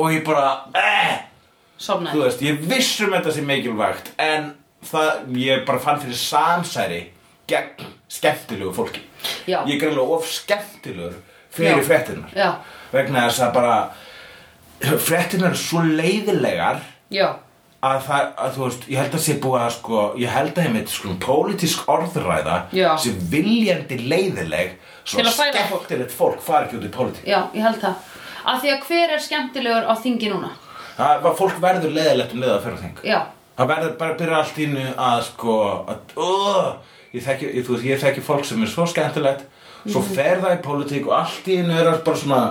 Speaker 3: og ég bara, eh, þú
Speaker 2: Sofnaði
Speaker 3: veist, ég viss um þetta sem mikilvægt En það, ég bara fann fyrir samsæri gegn skemmtilegu fólki
Speaker 2: Já.
Speaker 3: Ég er greinlega of skemmtilegur fyrir
Speaker 2: Já.
Speaker 3: fréttinnar
Speaker 2: Já.
Speaker 3: Vegna þess að bara, fréttinnar eru svo leiðilegar
Speaker 2: Já,
Speaker 3: að það, að þú veist, ég held að sé búið að sko, ég held að heimitt sko pólitísk orðræða
Speaker 2: Já.
Speaker 3: sem viljandi leiðileg svo
Speaker 2: Til að færa fólk.
Speaker 3: skemmtilegt fólk fari ekki út í pólitík
Speaker 2: já, ég held það Af því að hver er skemmtilegur á þingi núna?
Speaker 3: það var fólk verður leiðilegt um leiða að fyrir þing
Speaker 2: Já,
Speaker 3: það verður bara að byrja allt innu að sko að, uh, ég, þekki, ég, þú veist, ég þekki fólk sem er svo skemmtilegt svo
Speaker 2: Mhm.
Speaker 3: fer það í pólitík og allt í innu er það bara svona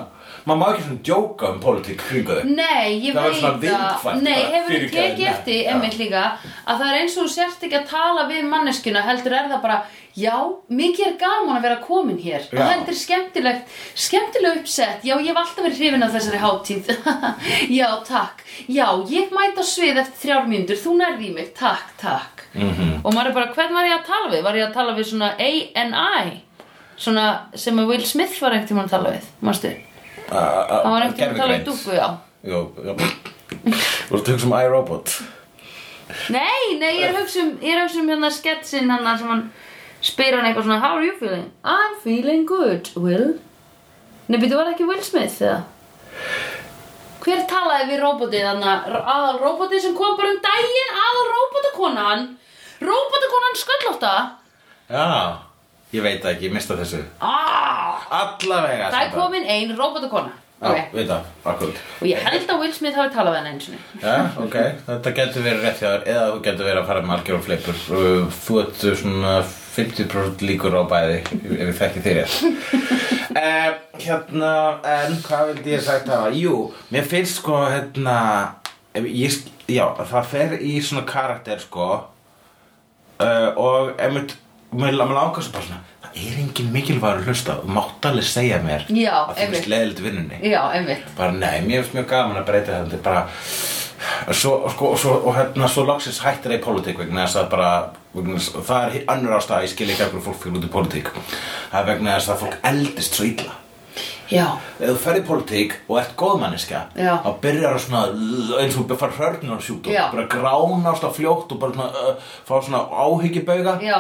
Speaker 3: maður má ekki svona djóka um pólitík kringu þig
Speaker 2: Nei, ég
Speaker 3: Það var
Speaker 2: veit
Speaker 3: svona
Speaker 2: að
Speaker 3: viðkvæmt
Speaker 2: Nei,
Speaker 3: bara,
Speaker 2: hefur þið
Speaker 3: fyrirgefðu
Speaker 2: tekið
Speaker 3: mér.
Speaker 2: eftir
Speaker 3: Já.
Speaker 2: einmitt líka að það er eins og þú sért ekki að tala við manneskuna heldur er það bara já, mikið er gaman að vera komin hér
Speaker 3: Já.
Speaker 2: og heldur skemmtilegt skemmtileg uppsett, já, ég hef alltaf verið hrifin af þessari hátíð Já, takk Já, ég mæta svið eftir þrjár mínútur þú nærði í mig, takk, takk
Speaker 3: Mhm.
Speaker 2: -hmm. og maður er bara, hvern var ég að tala við? Var ég að tala við svona A&I svona sem að Will Smith var einhvern tímann að tala við, manstu?
Speaker 3: það
Speaker 2: Hann var einhvern tímann að tala við dúku, já
Speaker 3: Jó, já Þú ert að hugsa um iRobot
Speaker 2: Nei, nei, ég er að hugsa um, ég er að hugsa um hérna sketsinn hann sem hann spyr hann eitthvað svona How are you feeling? I'm feeling good, Will Nei, býttu var það ekki Will Smith eða? Hver talaði við robotið hann aðal robotið sem kom bara um daginn aðal robotakonan robotakonan sköllótta
Speaker 3: Já, ég veit það ekki, ég mista þessu
Speaker 2: ah,
Speaker 3: Allavega
Speaker 2: Það er komin ein robotakona
Speaker 3: okay. Já,
Speaker 2: okay.
Speaker 3: veit það, akkurat
Speaker 2: Og ég held að Will Smith hafi talað við hann eins og
Speaker 3: Já, ok, þetta getur verið rétt hjá þér Eða þú getur verið að fara með algjörum flippur Uh, Þú ert svona 50% líkur á bæði Ef ég þekki þér rétt uh, Hérna, en hvað vildi ég sagt hafa? Jú, mér finnst sko, hérna ef ég, sk- Já, það fer í svona karakter, sko uh, og einmitt mér mér langar svo bara svona það er engin mikilvægur að hlusta þú mátt alveg segja mér
Speaker 2: Já,
Speaker 3: að þú
Speaker 2: einmitt.
Speaker 3: veist leiðilegt í vinnunni
Speaker 2: Já, einmitt
Speaker 3: bara nei, mér finnst mjög gaman að breyta þetta bara og svo, og sko, og svo, og hérna, svo loksins hættir það í pólitík vegna þess að bara vegna þess, og það er hi- önnur ástæða, að ég skil ekki af hverju fólk fyrir út í pólitík það er vegna þess að fólk eldist svo illa
Speaker 2: Já,
Speaker 3: Ef þú ferð í politík og ert góðmanniska
Speaker 2: Já.
Speaker 3: þá byrjar það svona eins og þú fær hörnur sjúkdóm
Speaker 2: Já.
Speaker 3: bara gránast á fljótt og bara svona, uh, fá svona áhyggjubauga
Speaker 2: Já.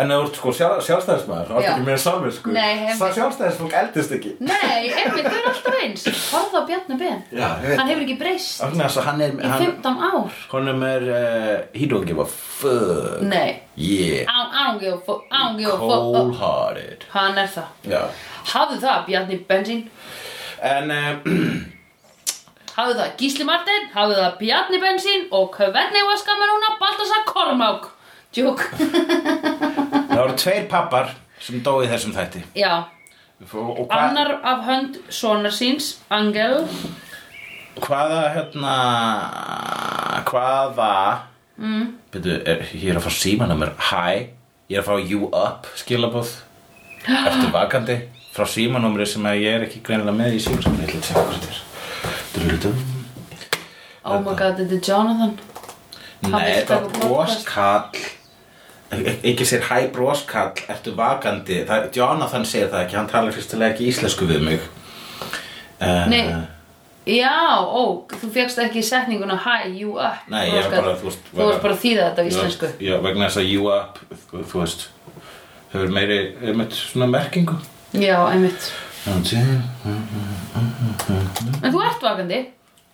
Speaker 3: en ef þú ert sko sjálf, sjálfstæðismæður þá ert
Speaker 2: Já.
Speaker 3: ekki meira samvisku
Speaker 2: Nei, einmitt.
Speaker 3: það sjálfstæðisfólk eldist ekki
Speaker 2: nei, einmitt, þau eru alltaf eins Horfðu á Bjarni Ben
Speaker 3: Já, ég veit.
Speaker 2: Hann hefur ekki breyst
Speaker 3: Þannig að hann er
Speaker 2: Í
Speaker 3: hann,
Speaker 2: 15 ár
Speaker 3: honum er uh, he don't give a fuck
Speaker 2: Nei,
Speaker 3: yeah,
Speaker 2: án- án gefa fó- án gefa fó-
Speaker 3: cold hearted
Speaker 2: uh, Hann er það
Speaker 3: Já.
Speaker 2: Hafðu það Bjarni Bensín
Speaker 3: en uh,
Speaker 2: Hafðu það Gísli Martin Hafðu það Bjarni Bensín Og hvernig var skamur núna Baltasar Kormák Djúk
Speaker 3: það voru tveir pappar sem dói þessum þætti
Speaker 2: Já
Speaker 3: og, og hvað-
Speaker 2: Annar af hönd sonar síns Angel
Speaker 3: Hvaða, hérna, hvaða, mm. byrju, er, ég er að fá símanumur, hi, ég er að fá you up skilabóð, eftir vakandi, frá símanumri sem að ég er ekki greinilega með í símanumri, ég ætla að segja hvað þetta er. Dullutum.
Speaker 2: Oh my god, þetta er Jonathan Hann
Speaker 3: Nei,
Speaker 2: vill taka
Speaker 3: þetta var
Speaker 2: podcast.
Speaker 3: broskall, E- ekki sér hæ broskall, eftir vakandi, það, Jonathan segir það ekki, hann talar fyrstulega ekki íslensku við mig. Uh,
Speaker 2: Nei. Já, ó, þú fegst ekki setninguna Hi, you up
Speaker 3: Nei,
Speaker 2: Þú
Speaker 3: ég var
Speaker 2: varst
Speaker 3: bara,
Speaker 2: að-
Speaker 3: þú veist,
Speaker 2: Þú varst
Speaker 3: bara-
Speaker 2: bara að þýða þetta á íslensku
Speaker 3: Já, vegna þess að you up, þú þú veist, hefur meiri, einmitt svona merkingu.
Speaker 2: Já, einmitt
Speaker 3: Já, tjá.
Speaker 2: En þú ert vakandi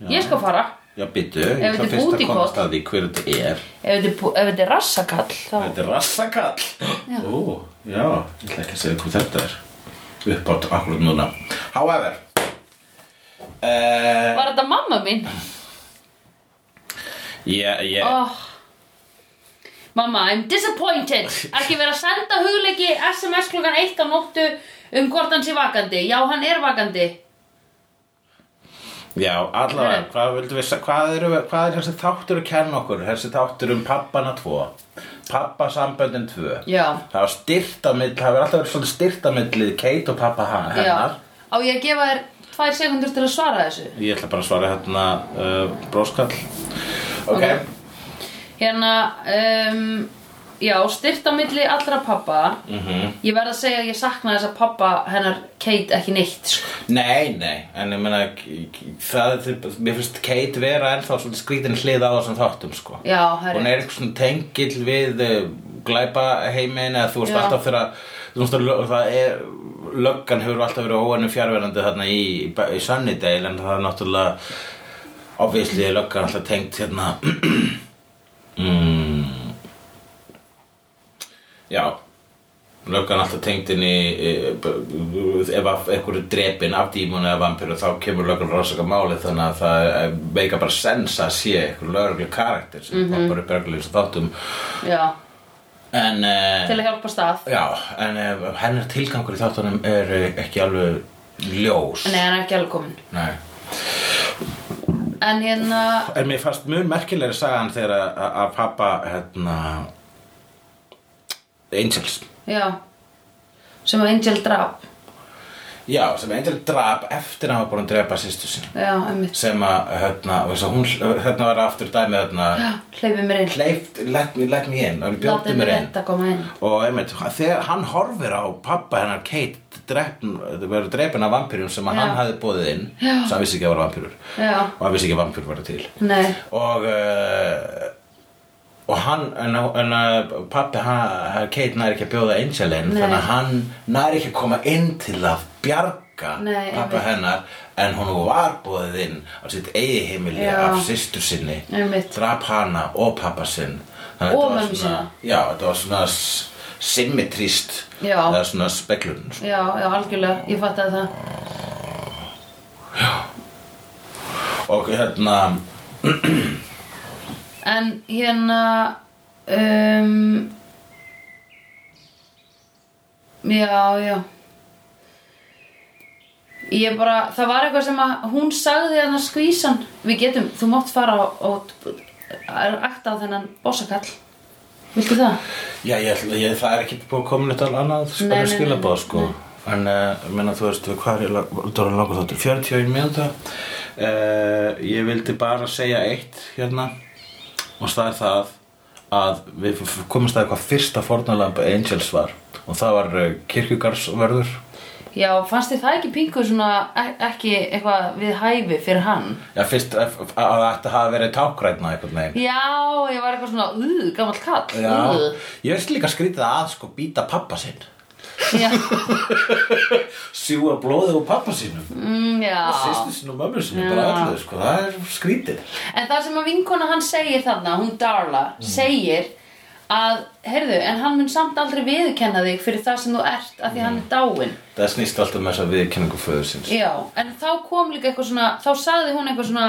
Speaker 2: Ég skal fara
Speaker 3: Já, byttu, ég
Speaker 2: Ef þetta
Speaker 3: ætla
Speaker 2: er
Speaker 3: fyrst að
Speaker 2: booty
Speaker 3: komast
Speaker 2: call.
Speaker 3: að því hver þetta er.
Speaker 2: Ef þetta er bú- ef þetta er rassakall þá
Speaker 3: Þetta er rassakall. Ó, já, ég ætla ekki að segja hvað þetta er. Uppátt akkurat núna. However, uh,
Speaker 2: Var þetta mamma mín?
Speaker 3: ég, ég,
Speaker 2: Oh. Mamma, I'm disappointed Ekki vera að senda hugleiki SMS klukkan 1 á nóttu um hvort hann sé vakandi Já, hann er vakandi
Speaker 3: já, allavega,
Speaker 2: Nei.
Speaker 3: hvað vildum við, sa- hvað er, hvað er þessi þáttur að kenna okkur? Þessi þáttur um pappana tvo. Pappasamböndin tvö.
Speaker 2: Já,
Speaker 3: Það var styrt á milli, það var alltaf verið svolítið styrt á milli Kate og pappa hann- hennar.
Speaker 2: já Á ég að gefa þér tvær sekundur til að svara þessu
Speaker 3: Ég ætla bara að svara hérna uh, bróskall. Ok,
Speaker 2: Ok. Hérna, um, já, styrt á milli allra pappa
Speaker 3: Mhm.
Speaker 2: -hmm. Ég verð að segja að ég sakna þess að pappa hennar Kate ekki neitt sko.
Speaker 3: Nei, nei, en ég meina, k- k- það, er- mér finnst Kate vera ennþá svona skrítin hlið á þessum þáttum, sko.
Speaker 2: Já, það er
Speaker 3: Hún er eitthvað svona tengill við uh, glæpa heimin eða þú veist
Speaker 2: Já.
Speaker 3: alltaf þegar að- þú veist að lö- það er, löggan hefur alltaf verið óanum fjárverandi þarna í, í, í Sunnydale en það er náttúrulega, obviously er löggan alltaf tengt hérna, mm, já, löggan alltaf tengd inn í e, b- b- ef að einhver er drepinn af dímonu eða vampíru þá kemur löggan að rannsaka málið þannig að það eh, veika bara sens að sé einhver lögreglu karakter sem poppar upp örgulegs þáttum
Speaker 2: Já,
Speaker 3: en
Speaker 2: til
Speaker 3: e,
Speaker 2: að hjálpa stað
Speaker 3: já, en e, hennar tilgangur í þáttunum er eh, ekki alveg ljós
Speaker 2: Nei, hann er ekki alveg komin
Speaker 3: Nei.
Speaker 2: En hérna,
Speaker 3: en mér fannst mjög merkilegri sagan þegar að- að að pappa hérna Angels
Speaker 2: já Sem að Angel drap
Speaker 3: já, sem Angel drap eftir að hann var búin að drepa sýstu sinni
Speaker 2: Já, einmitt
Speaker 3: sem að hérna, þess að hún, hérna var aftur dæmi hérna,
Speaker 2: Já, hleypi mér inn
Speaker 3: hleyft, let, me- let me in, hann bjótti
Speaker 2: Látið
Speaker 3: mér
Speaker 2: mér
Speaker 3: inn
Speaker 2: rétt að koma inn
Speaker 3: og einmitt, þegar hann horfir á pappa hennar Kate drepn, verður drepin af vampýrjum sem
Speaker 2: Já.
Speaker 3: að hann hafði bóðið inn
Speaker 2: Já.
Speaker 3: sem hann vissi ekki að vera vampýrur
Speaker 2: Já.
Speaker 3: og hann vissi ekki að vampýr var til
Speaker 2: Nei,
Speaker 3: og uh, og hann, en, en uh, pappi hann, Kate næri ekki að bjóða Angel inn
Speaker 2: Nei.
Speaker 3: þannig að hann næri ekki að koma inn til að bjarga
Speaker 2: Nei,
Speaker 3: pappa
Speaker 2: einmitt.
Speaker 3: hennar en hún var bóðið inn á sitt eigi heimili
Speaker 2: Já.
Speaker 3: af systur sinni
Speaker 2: Einmitt.
Speaker 3: drap hana og pappa sinn Þannig að
Speaker 2: Og
Speaker 3: þetta var
Speaker 2: mömmu
Speaker 3: svona-
Speaker 2: sína.
Speaker 3: já, þetta var svona s- symmetríst
Speaker 2: Já.
Speaker 3: eða svona speklun sko.
Speaker 2: já, já, algjörlega, ég fatt að það
Speaker 3: og hérna
Speaker 2: En hérna um, Já, já Ég bara, það var eitthvað sem að hún sagði hann að skvísan Við getum, þú mátt fara og, og akta á þennan bossakall Viltu það?
Speaker 3: Já, ég, ætla- ég, það er ekki búið að koma neitt alveg annað
Speaker 2: Nei,
Speaker 3: spara
Speaker 2: nei, nei,
Speaker 3: skilabóð,
Speaker 2: nei,
Speaker 3: sko En, uh, menna, þú veist, við hvað er Það er langur þáttur, 41 mínúta uh, Ég vildi bara segja eitt hérna Og það er það að við f- f- komumst að hvað fyrsta fornalamb Angels var Og það var uh, kirkjugarðsverður
Speaker 2: Já, fannst þið það ekki pingu svona e- ekki eitthvað við hæfi fyrir hann?
Speaker 3: Já, fyrst að að það ætti að hafa verið tákrætna einhvern veginn
Speaker 2: Já, ég var eitthvað svona, uh, gamall kall
Speaker 3: Já,
Speaker 2: uh.
Speaker 3: ég veist líka skrítið að sko býta pappa sinn
Speaker 2: Já,
Speaker 3: Sjúga blóðið úr pappa sínum
Speaker 2: mm, já.
Speaker 3: sýstu sinni og mömmu sinni, bara
Speaker 2: Já.
Speaker 3: allir, sko, það er skrítið.
Speaker 2: En það sem að vinkona hann segir þarna, hún Darla, segir að, heyrðu, en hann mun samt aldrei viðkenna þig fyrir það sem þú ert af því hann er dáinn.
Speaker 3: Það snýst alltaf um með þess að viðkynningu föður síns.
Speaker 2: Já, en þá kom líka eitthvað svona, þá sagði hún eitthvað svona,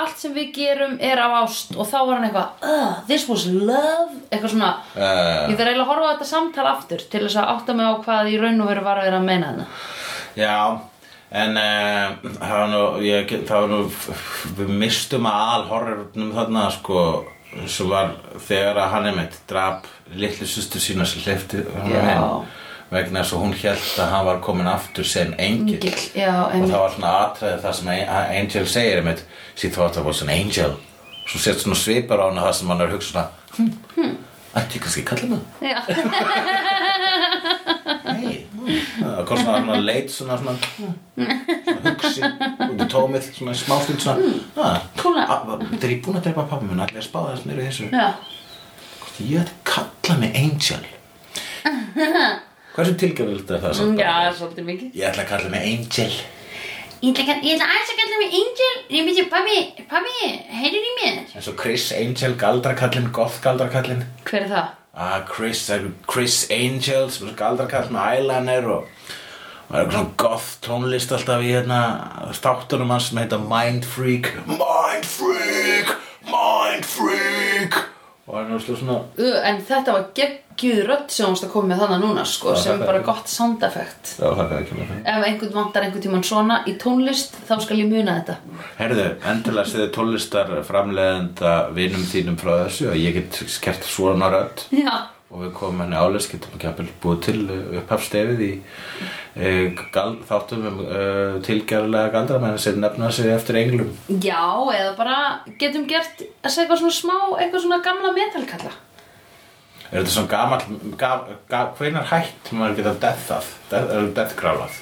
Speaker 2: allt sem við gerum er af ást og þá var hann eitthvað, uh, this was love, eitthvað svona,
Speaker 3: Uh,
Speaker 2: ég þarf eiginlega að horfa á þetta samtal aftur til þess að átta mig á hvað í raun og veru var að vera að meina þarna.
Speaker 3: já, en uh, það var nú, ég, það var nú, við mistum að alhorrurnum þarna, sko, sem var þegar að hann einmitt drap litlu sustu sína sem hleyfti hann
Speaker 2: Já.
Speaker 3: inn vegna þess að hún held að hann var komin aftur sem engil.
Speaker 2: Engil, já,
Speaker 3: og
Speaker 2: einmitt.
Speaker 3: það var svona aðtræði það sem Ein- Angel segir einmitt she thought I was an angel svo sett svona svipar á hana það sem hann er að hugsa svona hm, ætti ég kannski að kalla hana
Speaker 2: Já,
Speaker 3: hey, það kom svona, svona leit svona, svona, svona hugsi út í tómið, svona í smástund svona, "Ah, að,
Speaker 2: Hm, Kúla.
Speaker 3: þegar ég er búin að drepa pappa minn, allir að spáða þess meira í þessu
Speaker 2: Já.
Speaker 3: hvort ég ætti að kalla mig Angel hversu tilgjöfild er það
Speaker 2: Mm, Já,
Speaker 3: samt
Speaker 2: það er svolítið mikið.
Speaker 3: ég ætla að kalla mig Angel
Speaker 2: Ég ætla að- ég ætla aðeins að kalla mig Angel. Ég myndi, pabbi, pabbi, heyrðu í mér.
Speaker 3: eins og Chris Angel, galdrakallin, goth galdrakallin
Speaker 2: Hver er það?
Speaker 3: Ah, Chris, það er Chris Angel sem er galdarkall með eyeliner og og það er eitthvað svona goth tónlist alltaf í hérna þáttunum hans sem heita Mind Freak Mind Freak, Mind Freak og hann er slúið svona
Speaker 2: Uh, en þetta var geggjuð rödd sem hún að koma með þannig núna, sko,
Speaker 3: Já,
Speaker 2: sem er
Speaker 3: þetta er-
Speaker 2: bara gott sound effect.
Speaker 3: Já, það er ekki með það
Speaker 2: Ef einhvern vantar einhvern tíman svona í tónlist, þá skal ég muna þetta.
Speaker 3: Herðu, endilega séðu tónlistar framleiðenda vinum þínum frá þessu og ég get skert svona rödd
Speaker 2: Já.
Speaker 3: og við komum henni áleis getum ekki að búið til upphafstefið í e, gal, þáttum um e, tilgjörlega galdramenn sem nefna sig eftir englum
Speaker 2: Já, eða bara getum gert að segja eitthvað svona smá, eitthvað svona gamla metalkalla.
Speaker 3: er þetta svona gamall gam, gam, hvenar hætt maður geta deathað death, er deathgrálað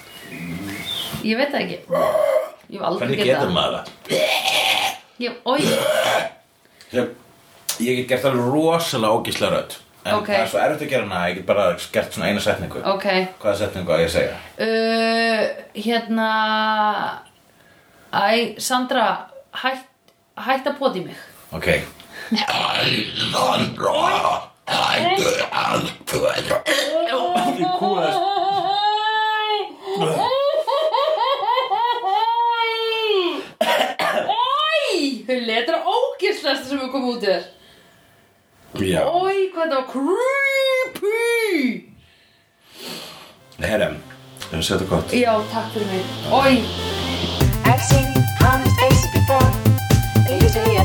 Speaker 2: Ég veit það ekki. Ég hef aldrei
Speaker 3: hvernig getur maður það
Speaker 2: Ég, oi,
Speaker 3: ég, ég get gert alveg rosalega ógísla rödd en
Speaker 2: Ok.
Speaker 3: það er svo erfitt að gera hana ég get bara gert svona eina setningu
Speaker 2: ok.
Speaker 3: hvaða setningu að ég að segja
Speaker 2: Uh, hérna, æ, Sandra, hætt, hætt að poti mig.
Speaker 3: ok Alexandra hættu að tveira ég kúast
Speaker 2: Oi, Hulli, þetta er ógislasta sem við komum út í þér.
Speaker 3: já
Speaker 2: Oi, hvað þetta var creepy.
Speaker 3: herrem það er setja gott
Speaker 2: Já, takk fyrir mig. Oi.
Speaker 4: I've seen honest faces before. They're usually a